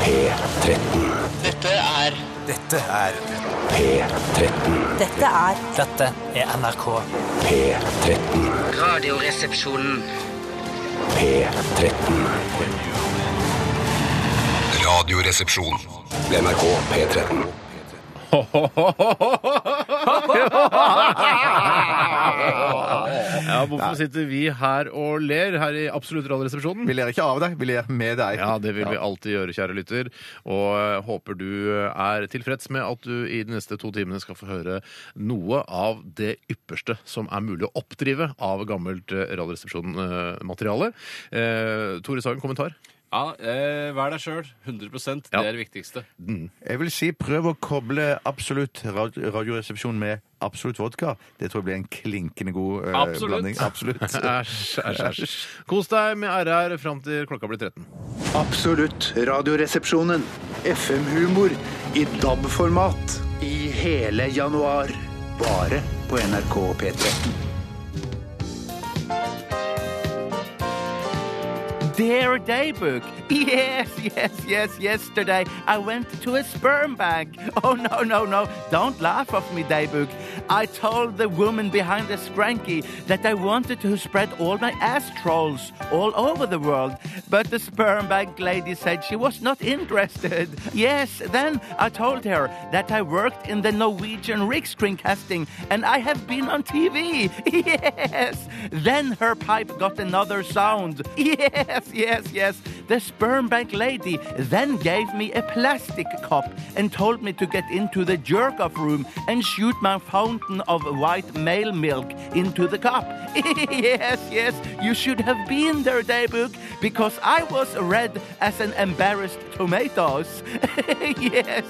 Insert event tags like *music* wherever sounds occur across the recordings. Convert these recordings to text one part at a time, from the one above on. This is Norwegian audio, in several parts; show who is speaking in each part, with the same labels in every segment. Speaker 1: P13.
Speaker 2: Dette er
Speaker 3: Dette er
Speaker 1: P13.
Speaker 4: Dette er
Speaker 5: Dette er NRK.
Speaker 1: P13.
Speaker 2: Radioresepsjonen.
Speaker 1: P13.
Speaker 6: Radioresepsjon.
Speaker 1: NRK P13.
Speaker 7: *laughs* Ja, Hvorfor sitter vi her og ler her i Absolutt Radioresepsjonen?
Speaker 3: Vi ler ikke av deg, vi ler med deg.
Speaker 7: Ja, det vil vi alltid gjøre, kjære lytter. Og eh, håper du er tilfreds med at du i de neste to timene skal få høre noe av det ypperste som er mulig å oppdrive av gammelt eh, Radioresepsjon-materiale. Eh, Tore Sagen, kommentar?
Speaker 8: Ja, eh, Vær deg sjøl. 100
Speaker 7: Ja.
Speaker 8: Det er det viktigste.
Speaker 3: Jeg vil si prøv å koble absolutt rad radioresepsjon med absolutt vodka. Det tror jeg blir en klinkende god eh,
Speaker 8: Absolutt.
Speaker 3: blanding. Absolutt.
Speaker 7: *laughs* Æsj, æsj, æsj. Kos deg med RR fram til klokka blir 13.
Speaker 9: Absolutt Radioresepsjonen. FM-humor i DAB-format i hele januar. Bare på NRK P13.
Speaker 10: Dear Daybook. *laughs* Yes, yes, yes, yesterday I went to a sperm bank. *laughs* Oh, no, no, no. Don't laugh of me, Daybook. I told the woman behind the Spranky that I wanted to spread all my ass trolls all over the world. But the sperm bank lady said she was not interested. *laughs* Yes, then I told her that I worked in the Norwegian Rikskringkasting and I have been on TV. *laughs* Yes. Then her pipe got another sound. *laughs* Yes, yes, yes. The sperm bank lady then gave me a plastic cup and told me to get into the jerk off room and shoot my fountain of white male milk into the cup. *laughs* yes, yes, you should have been there, Daybook, because I was red as an embarrassed tomatoes. *laughs* yes.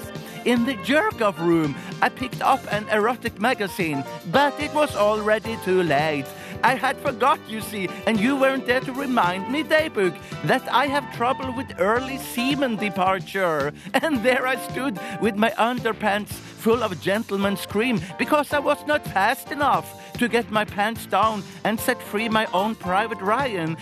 Speaker 10: In the jerk off room, I picked up an erotic magazine, but it was already too late. I had forgot, you see, and you weren't there to remind me, Daybook, that I have trouble with early semen departure. *laughs* And there I stood with my underpants full of gentleman's cream because I was not fast enough to get my pants down and set free my own private Ryan.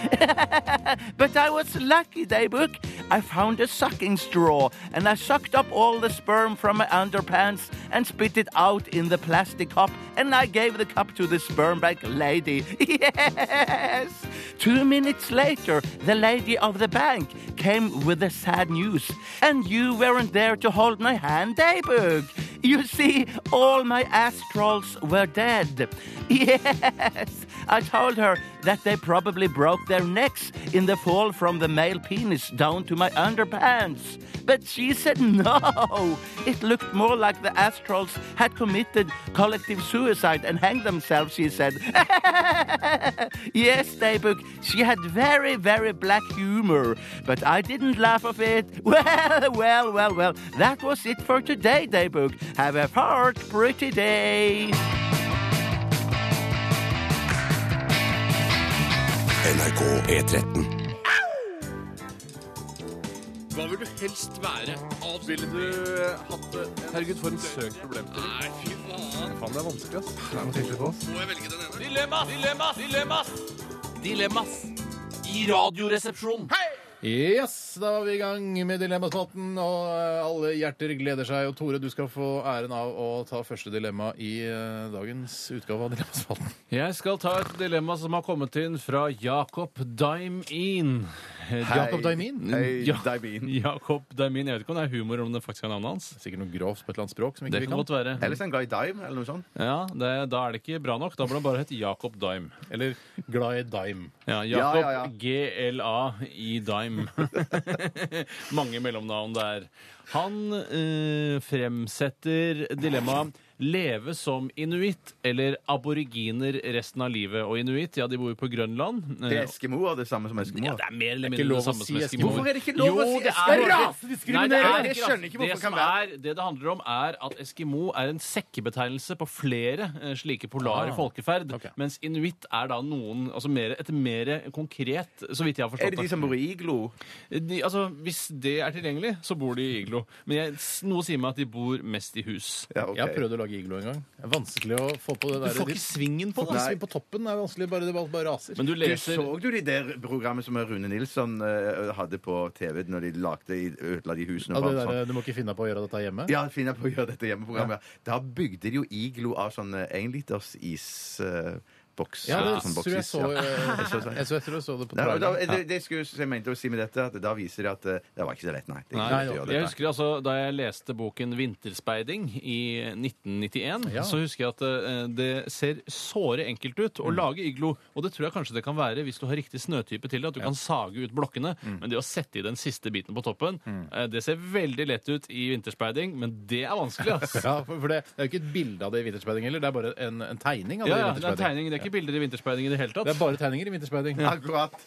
Speaker 10: But I was lucky, Daybook. I found a sucking straw and I sucked up all the sperm from my underpants and spit it out in the plastic cup and I gave the cup to the sperm bank lady. *laughs* Yes! Two minutes later, the lady of the bank came with the sad news. And you weren't there to hold my hand, Daybook. You see, all my astrals were dead. *laughs* Yes! I told her that they probably broke their necks in the fall from the male penis down to my underpants. But she said *laughs* no. It looked more like the astrals had committed collective suicide and hanged themselves, she said. *laughs* yes, Daybook, she had very, very black humor, but I didn't laugh of it. *laughs* Well, well, well, well, that was it for today, Daybook. Have a fart pretty day.
Speaker 1: NRK P13.
Speaker 8: Hva vil du helst være? Ville du eh, hatt det? Herregud, for en søk problemstilling. Nei, fy faen.
Speaker 7: Faen, det er vanskelig, ass.
Speaker 8: Må jeg velge den ene? Dilemmas! Dilemmas! Dilemmas! Dilemmas i Radioresepsjonen.
Speaker 7: Yes, da var vi i gang med Dilemmaspotten, og eh, alle hjerter gleder seg. Og Tore, du skal få æren av å ta første dilemma i eh, dagens utgave av Dilemmaspotten.
Speaker 8: Jeg skal ta et dilemma som har kommet inn fra Jakob Daim-In. Eh,
Speaker 7: Jakob Daimin.
Speaker 3: Hei,
Speaker 8: Ja.
Speaker 3: Daimin.
Speaker 8: *laughs* Jakob Daim-In. Jeg vet ikke om det er humor, eller om det faktisk er navnet hans.
Speaker 7: Sikkert noe grovt på et eller annet språk som ikke
Speaker 8: Det
Speaker 7: vi
Speaker 8: kan
Speaker 7: kan.
Speaker 8: godt være.
Speaker 3: Eller så en guy dime, eller noe sånt.
Speaker 8: Ja, det, Da er det ikke bra nok. Da burde han bare hett Jakob Daim.
Speaker 7: Eller glad i dime.
Speaker 8: Ja,
Speaker 3: Ja,
Speaker 8: Jakob
Speaker 3: ja, ja.
Speaker 8: GLA i Dime. *laughs* Mange mellomnavn der. Han eh, fremsetter dilemmaet leve som inuitt eller aboriginer resten av livet. Og inuitt, ja, de bor jo på Grønland. Eh,
Speaker 3: Det er Eskimoer, det samme som
Speaker 8: ja,
Speaker 3: Eskimoer.
Speaker 8: det er mer
Speaker 7: Det
Speaker 8: eller
Speaker 7: er
Speaker 8: mindre
Speaker 7: ikke lov
Speaker 8: det
Speaker 7: å
Speaker 8: samme
Speaker 7: si
Speaker 8: som
Speaker 7: Eskimo.
Speaker 8: eskimoer.
Speaker 7: Hvorfor
Speaker 3: er det ikke lov
Speaker 8: Jo,
Speaker 3: å si
Speaker 8: det er
Speaker 3: Eskimo?
Speaker 8: Nei, det
Speaker 3: Rasediskriminering!
Speaker 8: er
Speaker 3: Jeg
Speaker 8: ikke
Speaker 3: skjønner ikke
Speaker 8: rase.
Speaker 3: hvorfor
Speaker 8: Det
Speaker 3: det
Speaker 8: som
Speaker 3: kan være
Speaker 8: er, det det handler om, er at Eskimo er en sekkebetegnelse på flere eh, slike polare
Speaker 7: Ah,
Speaker 8: folkeferd,
Speaker 7: ok.
Speaker 8: mens inuitt er da noen altså mer, et mer konkret, så vidt jeg har forstått
Speaker 3: Er det de som bor i iglo?
Speaker 8: de, altså, hvis det er tilgjengelig, så bor de i iglo. Men jeg, s- noe sier meg at de bor mest i hus.
Speaker 3: Ja, ok.
Speaker 7: Jeg har prøvd å lage giglo engang. Det er vanskelig å få på det der.
Speaker 8: Du får ikke svingen på
Speaker 7: det.
Speaker 8: det.
Speaker 7: Sving på toppen er vanskelig, bare det bare, bare raser.
Speaker 8: Men du
Speaker 9: Du
Speaker 8: leser
Speaker 9: så du de der programmet som Rune Nilsson eh, hadde på TV når de lagde i- ødela de
Speaker 7: ja,
Speaker 9: husene? og
Speaker 7: det
Speaker 9: alt sånt?
Speaker 7: der, du må ikke finne på å gjøre dette hjemme?
Speaker 9: Ja, finner jeg på å gjøre dette hjemmeprogrammet. Da bygde de jo iglo av sånn énliters isboks.
Speaker 7: Ja, det
Speaker 9: sånn
Speaker 7: tror jeg
Speaker 9: boksis,
Speaker 7: så
Speaker 9: *laughs* ja.
Speaker 8: *laughs*
Speaker 7: eh,
Speaker 9: så- så-
Speaker 7: Jeg så- jeg tror jeg så det på
Speaker 9: Nei, og da,
Speaker 7: traileren.
Speaker 9: det, det skulle jeg mente å si med dette, at da viser det at eh, det var ikke så lett, nei. Det er ikke
Speaker 8: Nei,
Speaker 9: lett å gjøre
Speaker 8: jeg
Speaker 9: dette.
Speaker 8: husker altså, Da jeg leste boken 'Vinterspeiding' i 1991,
Speaker 7: Ja.
Speaker 8: så husker jeg at eh, det ser såre enkelt ut
Speaker 7: Mm.
Speaker 8: å lage iglo. Og det tror jeg kanskje det kan være hvis du har riktig snøtype til det. At du kan sage ut blokkene.
Speaker 7: Mm.
Speaker 8: Men det å sette i den siste biten på toppen, eh, det ser veldig lett ut i vinterspeiding, men det er vanskelig, ass.
Speaker 7: *laughs* Ja, for, for det, det er jo ikke et bilde av det i vinterspeiding heller, det er bare en, en tegning av det
Speaker 8: Ja, ja,
Speaker 7: i
Speaker 8: det er
Speaker 7: vinterspeiding.
Speaker 8: tegning. Det er ikke bilder i vinterspeiding i det hele tatt.
Speaker 7: Det er bare tegninger i vinterspeiding.
Speaker 9: *laughs* Akkurat.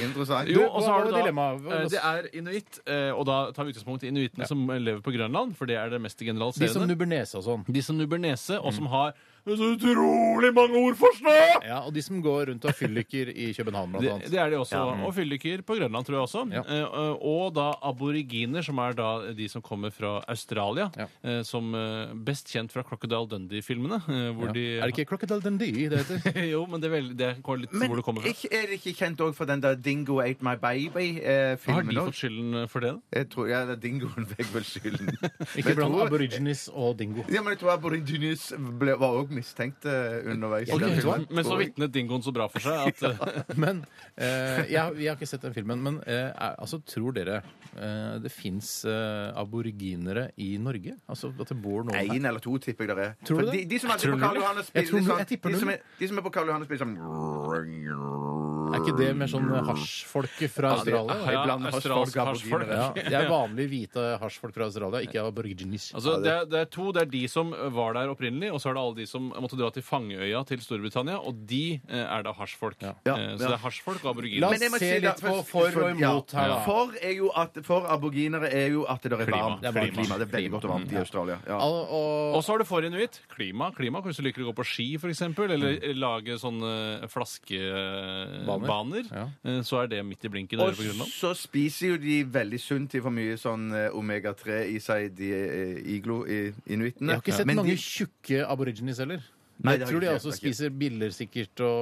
Speaker 9: Interessant.
Speaker 8: Jo,
Speaker 7: Du,
Speaker 8: og så
Speaker 7: hva
Speaker 8: har
Speaker 7: var
Speaker 8: du da
Speaker 7: dilemmaet? Hva-
Speaker 8: eh, Det er inuitt, eh, og da tar vi utgangspunkt i inuittene som lever på Grønland, for det er det mest
Speaker 7: De som
Speaker 8: generaliserende.
Speaker 7: nubber nese og sånn.
Speaker 8: De som nubber nese, og som har så utrolig mange ord for snø!
Speaker 7: Mm. Ja, Og de som går rundt og har fylliker i København, blant
Speaker 8: Det,
Speaker 7: annet.
Speaker 8: det er de også. Og fylliker på Grønland, tror jeg også.
Speaker 7: mm. Ja.
Speaker 8: Eh, eh, og da aboriginer, som er da de som kommer fra Australia.
Speaker 7: Ja.
Speaker 8: eh, som eh, best kjent fra Crocodile Dundee-filmene. eh, hvor
Speaker 7: Ja.
Speaker 8: de
Speaker 7: Er det ikke Crocodile Dundee det heter?
Speaker 8: *laughs* Jo, men det, er veldig, det går litt
Speaker 9: Men
Speaker 8: hvor det kommer fra.
Speaker 9: ikke- er det ikke kjent òg for den der 'Dingo Ate My Baby'-filmen?
Speaker 8: Har de fått skylden for det? da?
Speaker 9: Jeg tror ja, det er dingoen fikk vel skylden.
Speaker 7: *laughs*
Speaker 9: Men
Speaker 7: Ikke
Speaker 9: jeg
Speaker 7: blant
Speaker 9: tror-
Speaker 7: aborigines og dingo.
Speaker 9: Ja, men jeg tror Aborigines ble, var også mistenkt eh, underveis. i
Speaker 7: Ok,
Speaker 9: den
Speaker 7: vet du hva?
Speaker 9: filmen.
Speaker 8: Men så vitnet dingoen så bra for seg at eh,
Speaker 7: *laughs* Men eh, jeg, har- jeg har ikke sett den filmen. Men eh, er, altså, tror dere eh, det fins eh, aboriginere i Norge? Altså at det bor noen her?
Speaker 9: En eller to tipper jeg det er.
Speaker 7: Tror du
Speaker 9: For
Speaker 7: det?
Speaker 9: De, de som er
Speaker 7: Tror
Speaker 9: på
Speaker 7: du
Speaker 9: Karl
Speaker 7: det?
Speaker 9: Johan og
Speaker 7: Jeg tror
Speaker 9: spiller
Speaker 7: null.
Speaker 9: sånn
Speaker 7: Jeg tipper Eh,
Speaker 9: de som,
Speaker 7: null.
Speaker 9: er, de som er på Karl Johan og spiller sånn
Speaker 7: Er ikke det mer sånn hasjfolket fra
Speaker 9: det-
Speaker 7: Australia?
Speaker 9: jeg blander
Speaker 8: australsk
Speaker 9: hasjfolk og aboriginere.
Speaker 8: hasjfolk.
Speaker 7: Ja,
Speaker 9: *laughs*
Speaker 7: det er vanlig hvite hasjfolk fra Australia, ikke aborigines.
Speaker 8: Altså, det, er, det er to. Det er de som eh, var der opprinnelig, og så er det alle de som måtte dra til fangeøya til Storbritannia, og de eh, er da hasjfolk.
Speaker 9: Ja.
Speaker 8: Eh, Så
Speaker 9: Ja.
Speaker 8: det er hasjfolk og
Speaker 7: La
Speaker 8: aboriginer.
Speaker 7: oss-
Speaker 9: Men jeg må
Speaker 7: se
Speaker 9: da-
Speaker 7: litt på for og imot her, da.
Speaker 9: For, er jo at, for aboginere er jo at det er
Speaker 8: Klima.
Speaker 9: varmt.
Speaker 8: Det er
Speaker 9: for
Speaker 8: varmt.
Speaker 9: klima. Det er veldig godt og varmt i Australia. Ja.
Speaker 7: Al- og,
Speaker 8: Og så har du for inuitt. Klima. klima. Kanskje du liker å gå på ski, f.eks., eller lage sånne eh,
Speaker 7: Baner.
Speaker 8: flaskebaner.
Speaker 7: Ja.
Speaker 8: Eh, Så er det midt i blinken å
Speaker 9: Og
Speaker 8: gjøre på Grønland.
Speaker 9: så spiser jo de veldig sunt. De får mye sånn eh, omega-3 i seg, de eh, iglo i- inuittene.
Speaker 7: jeg har ikke sett
Speaker 9: Men
Speaker 7: mange
Speaker 9: de-
Speaker 7: tjukke aborigines heller.
Speaker 9: Nei,
Speaker 7: Jeg
Speaker 9: det
Speaker 7: tror
Speaker 9: har
Speaker 7: de
Speaker 9: jeg ikke,
Speaker 7: også
Speaker 9: det har jeg ikke.
Speaker 7: spiser biller sikkert og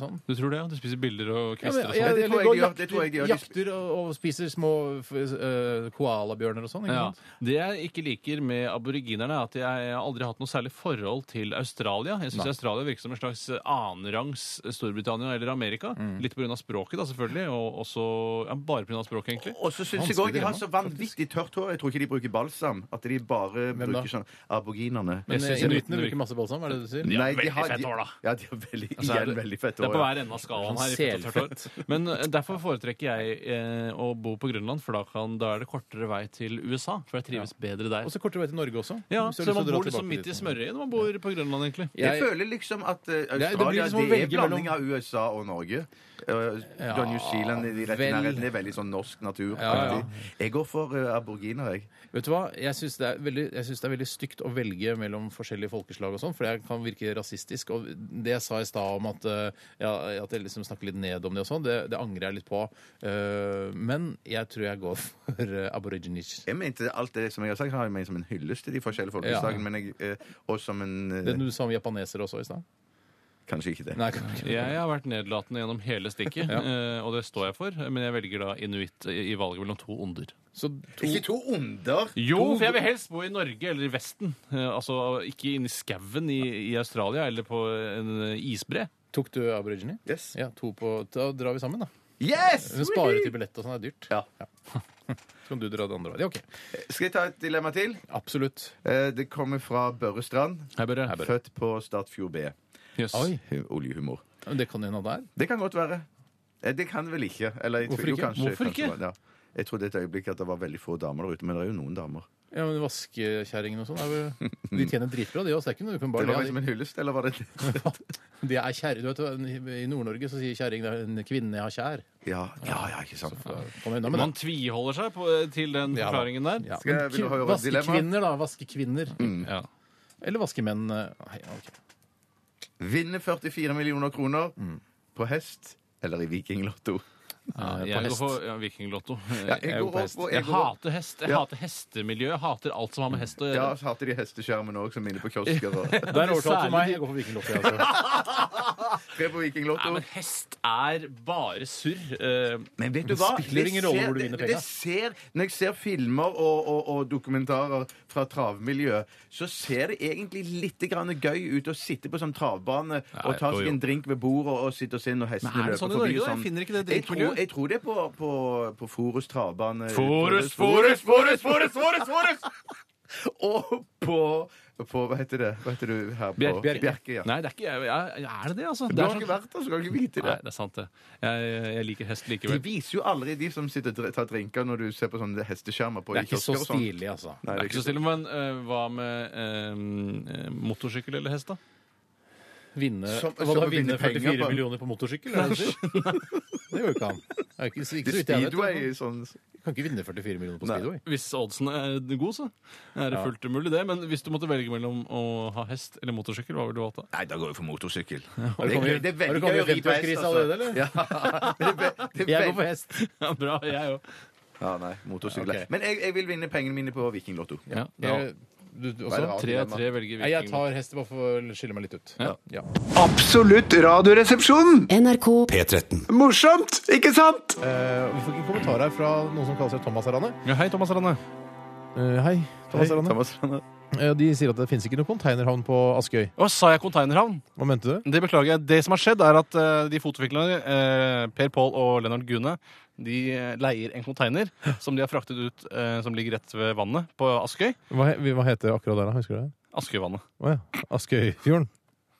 Speaker 7: sånn.
Speaker 8: Du tror det, ja? Du spiser biller
Speaker 7: Ja,
Speaker 8: og
Speaker 7: men,
Speaker 8: kvister
Speaker 7: ja,
Speaker 8: og sånn?
Speaker 9: det tror
Speaker 7: eller
Speaker 9: jeg
Speaker 7: går
Speaker 9: de gjør, det tror jeg de gjør.
Speaker 7: jakter og, og spiser små f- eh, koalabjørner og sånn. ikke
Speaker 8: Ja.
Speaker 7: sant?
Speaker 8: Det jeg ikke liker med aboriginerne, er at jeg har aldri hatt noe særlig forhold til Australia. Jeg syns Australia virker som en slags annenrangs Storbritannia eller Amerika.
Speaker 7: Mm.
Speaker 8: Litt pga. språket, da, selvfølgelig, og også ja, bare pga. språket, egentlig.
Speaker 9: Og så syns jeg
Speaker 7: Vanskelig
Speaker 9: òg de har
Speaker 7: dilemma,
Speaker 9: så vanvittig tørt hår. Jeg tror ikke de bruker balsam. At de bare
Speaker 7: Hvem da?
Speaker 9: bruker sånn aboginerne.
Speaker 7: Men
Speaker 8: Jeg synes
Speaker 7: eh,
Speaker 8: inuittene
Speaker 7: inuittene
Speaker 8: virker-
Speaker 7: bruker masse balsam, er det det du sier?
Speaker 8: Ja. veldig fett hår, da.
Speaker 9: Ja, de har veldig,
Speaker 8: Altså, er
Speaker 9: igjen veldig fett
Speaker 8: det er
Speaker 9: hår.
Speaker 8: på
Speaker 9: ja.
Speaker 8: hver ende av skalaen
Speaker 7: Sånn
Speaker 8: her. i fett og tørt hår. *laughs* Men eh, derfor foretrekker jeg eh, å bo på Grønland, for da, kan, da er det kortere vei til USA. For jeg trives bedre
Speaker 7: Og
Speaker 8: der.
Speaker 7: så kortere vei til Norge også.
Speaker 8: Ja,
Speaker 7: hvis du
Speaker 8: så
Speaker 7: har lyst til
Speaker 8: man
Speaker 7: å dra
Speaker 8: bor liksom
Speaker 7: tilbake
Speaker 8: midt i
Speaker 7: dit.
Speaker 8: smørøyet når man bor på Grønland, egentlig.
Speaker 9: Jeg
Speaker 7: Jeg,
Speaker 9: føler liksom at
Speaker 7: blir
Speaker 9: eh, Australia
Speaker 7: liksom
Speaker 9: Det,
Speaker 7: å
Speaker 9: er
Speaker 7: velge
Speaker 9: blanding
Speaker 7: mellom-
Speaker 9: av USA og Norge. Uh,
Speaker 7: Ja,
Speaker 9: New Zealand i de rette
Speaker 7: vel.
Speaker 9: nærheten er veldig sånn norsk natur.
Speaker 7: Ja, ja.
Speaker 9: Jeg går for uh, aboriginer, jeg.
Speaker 7: vet du hva? Jeg syns det, er veldig- jeg synes det er veldig stygt å velge mellom forskjellige folkeslag og sånn, for det kan virke rasistisk. Og det jeg sa i stad om at, eh, ja, at jeg liksom snakker litt ned om det og sånn, det, det angrer jeg litt på. Eh, men jeg tror jeg går *laughs* for uh, aborigines.
Speaker 9: Jeg mente alt det som jeg har sagt, har jeg ment som en hyllest til de forskjellige folkeslagene, men jeg, eh, og som en eh,
Speaker 7: Det du sa om japanesere også i stad?
Speaker 9: Kanskje ikke det.
Speaker 7: Nei, kan ikke.
Speaker 8: Jeg har vært nedlatende gjennom hele stikket,
Speaker 7: Ja.
Speaker 8: eh, og det står jeg for. Men jeg velger da inuitt i i valget mellom to onder.
Speaker 7: Så to
Speaker 9: Ikke to onder!
Speaker 8: Jo, for jeg vil helst bo i Norge eller i Vesten. Eh, altså ikke inni skauen i, i Australia eller på en eh, isbre.
Speaker 7: Tok du aborigine?
Speaker 9: Yes!
Speaker 7: Ja, to på Da drar vi sammen, da.
Speaker 9: yes!
Speaker 7: Hun sparer til billett og sånn, det er dyrt.
Speaker 9: Ja.
Speaker 7: Så kan du dra det andre veien. Ja, OK.
Speaker 9: Skal jeg ta et dilemma til?
Speaker 7: Absolutt.
Speaker 9: Eh, Det kommer fra Børre Strand.
Speaker 8: Her bare.
Speaker 9: Født på Stadfjord B.
Speaker 8: Yes.
Speaker 7: Oi.
Speaker 9: Hu- Oljehumor.
Speaker 7: Men Det kan hun ha der.
Speaker 9: Det kan godt være. Eh, Det kan vel ikke. Eller, jeg tror-
Speaker 7: Hvorfor
Speaker 9: jo,
Speaker 7: ikke?
Speaker 9: kanskje-
Speaker 8: Hvorfor
Speaker 9: kanskje-
Speaker 8: ikke?
Speaker 9: ja. Jeg trodde et øyeblikk at det var veldig få damer der ute, men det er jo noen damer.
Speaker 7: Ja, men Vaskekjerringene og sånn er vel- De tjener dritbra, de også. Det er ikke noe du kan bare
Speaker 9: Det
Speaker 7: le
Speaker 9: var
Speaker 7: av.
Speaker 9: liksom en hyllest, eller var det
Speaker 7: de- De er kjerre. Du vet, I Nord-Norge så sier kjerring det er en kvinne jeg har kjær.
Speaker 9: Ja, ja, ja ikke sant.
Speaker 7: Da Kom unna med
Speaker 8: Man
Speaker 7: det.
Speaker 8: tviholder seg på, eh, til den
Speaker 7: Ja, da.
Speaker 8: forklaringen der.
Speaker 7: Ja.
Speaker 9: Skal jeg- vil du ha
Speaker 7: men
Speaker 9: et dilemma? Mm.
Speaker 7: Vaskekvinner, da. Vaskekvinner.
Speaker 8: Ja.
Speaker 7: Eller vaskemenn. Nei, ok.
Speaker 9: Vinne 44 millioner kroner på hest eller i Vikinglotto.
Speaker 11: Ja,
Speaker 12: på
Speaker 11: jeg går
Speaker 12: hest.
Speaker 11: for ja, vikinglotto.
Speaker 12: Ja,
Speaker 11: Jeg,
Speaker 12: jeg
Speaker 11: er jo
Speaker 12: går
Speaker 11: på
Speaker 12: opp,
Speaker 11: hest.
Speaker 12: og jeg
Speaker 11: jeg
Speaker 12: går opp.
Speaker 11: hater hest. Jeg
Speaker 9: Ja.
Speaker 11: hater hestemiljø. Jeg hater alt som har med hest å
Speaker 9: Ja,
Speaker 11: gjøre.
Speaker 9: så hater de hesteskjermen òg, som inne på
Speaker 11: *laughs*
Speaker 9: kiosker. Og...
Speaker 7: Der overtalte
Speaker 11: Særlig
Speaker 7: du meg.
Speaker 11: de-
Speaker 7: Jeg går for
Speaker 9: *laughs*
Speaker 7: vikinglotto. jeg altså. også.
Speaker 9: Tre på
Speaker 11: Nei,
Speaker 9: Vikinglotto.
Speaker 11: men hest er bare surr. Eh,
Speaker 9: Men vet du
Speaker 7: Det spiller ingen rolle hvor du vinner
Speaker 9: det-
Speaker 7: penger.
Speaker 9: Det ser, når jeg ser filmer og, og, og dokumentarer fra travmiljøet, så ser det egentlig litt grann gøy ut å sitte på sånn travbane og ta
Speaker 11: jo,
Speaker 9: seg
Speaker 11: jo.
Speaker 9: en drink ved bordet og sitte og se når hestene
Speaker 11: Men er
Speaker 9: løper
Speaker 11: det sånn i
Speaker 9: forbi.
Speaker 11: Norge,
Speaker 9: og
Speaker 11: da? Jeg
Speaker 9: sånn.
Speaker 11: finner ikke det
Speaker 9: jeg tror,
Speaker 11: drittmiljøet.
Speaker 9: jeg tror det er på, på, på Forus travbane. eh,
Speaker 11: Forus,
Speaker 9: Forus, Forus, Forus, Forus!
Speaker 7: *laughs*
Speaker 9: Forus! og på, på Hva heter det? Hva heter du her på
Speaker 7: Bjerke. Bjerke.
Speaker 9: ja.
Speaker 11: Nei, det er ikke jeg. jeg- Er det det, altså?
Speaker 9: Du
Speaker 11: Det er
Speaker 9: har ikke
Speaker 11: sånn-
Speaker 9: vært der, så kan du ikke vite det.
Speaker 11: Nei, det er sant, det. Jeg, jeg liker hest
Speaker 9: De
Speaker 11: likevel.
Speaker 9: viser jo aldri de som sitter og dr- tar drinker når du ser på sånne hesteskjermer på
Speaker 7: Det er ikke så
Speaker 9: kiosker og sånn.
Speaker 7: stilig, altså.
Speaker 9: Nei,
Speaker 11: Det er ikke så stille, men eh, hva med eh, motorsykkel eller hest, da?
Speaker 7: Vinne,
Speaker 9: Som-
Speaker 7: hva
Speaker 9: som
Speaker 7: da,
Speaker 9: å vinne
Speaker 7: vinne
Speaker 9: penger
Speaker 7: 44
Speaker 9: på-
Speaker 7: millioner på motorsykkel? Er det det du sier? det gjør jo ikke han. Det er jo ikke, ikke så vidt jeg vet.
Speaker 9: Speedway i sånn
Speaker 7: Du kan ikke vinne 44 millioner på Speedway.
Speaker 11: *laughs* Hvis oddsen er god, så er det fullt mulig, det. Men hvis du måtte velge mellom å ha hest eller motorsykkel, hva ville du valgt da? *laughs*
Speaker 9: Nei, da går vi for motorsykkel.
Speaker 7: *laughs* Har du kommet i- har du kommet i 50-årskrisen allerede,
Speaker 9: altså.
Speaker 7: eller?
Speaker 9: *laughs*
Speaker 7: Jeg går for hest.
Speaker 11: Ja, bra, jeg òg.
Speaker 9: Ja, nei, motorsykkel.
Speaker 7: Ok.
Speaker 9: Men jeg, jeg vil vinne pengene mine på Vikinglotto.
Speaker 11: Ja, da-
Speaker 7: Jeg, du, du,
Speaker 9: Hva er
Speaker 7: også?
Speaker 9: det rart?
Speaker 11: tre av tre velger
Speaker 7: Nei, jeg
Speaker 11: viking.
Speaker 7: tar hest bare for å skille meg litt ut.
Speaker 11: Ja.
Speaker 7: Ja.
Speaker 13: Absolutt radioresepsjon!
Speaker 14: NRK
Speaker 1: P13.
Speaker 13: Morsomt, ikke sant?
Speaker 7: Eh, vi får ikke en kommentar her fra noen som kaller seg Thomas Arane.
Speaker 11: Ja, hei, Thomas Rande.
Speaker 7: Eh, hei, Thomas Arane.
Speaker 9: Thomas,
Speaker 7: Eh, de sier at det finnes ikke noen konteinerhavn på Askøy.
Speaker 8: Og sa jeg konteinerhavn?
Speaker 7: Hva mente du?
Speaker 8: Det beklager jeg. Det som har skjedd, er at eh, de fotofiklerne, eh, Per Pål og Lennart Gune, de eh, leier en konteiner som de har fraktet ut, eh, som ligger rett ved vannet på Askøy.
Speaker 7: Hva, he- hva heter det akkurat der, da? Husker du det?
Speaker 8: Askøyvannet.
Speaker 7: Å ja. Askøyfjorden.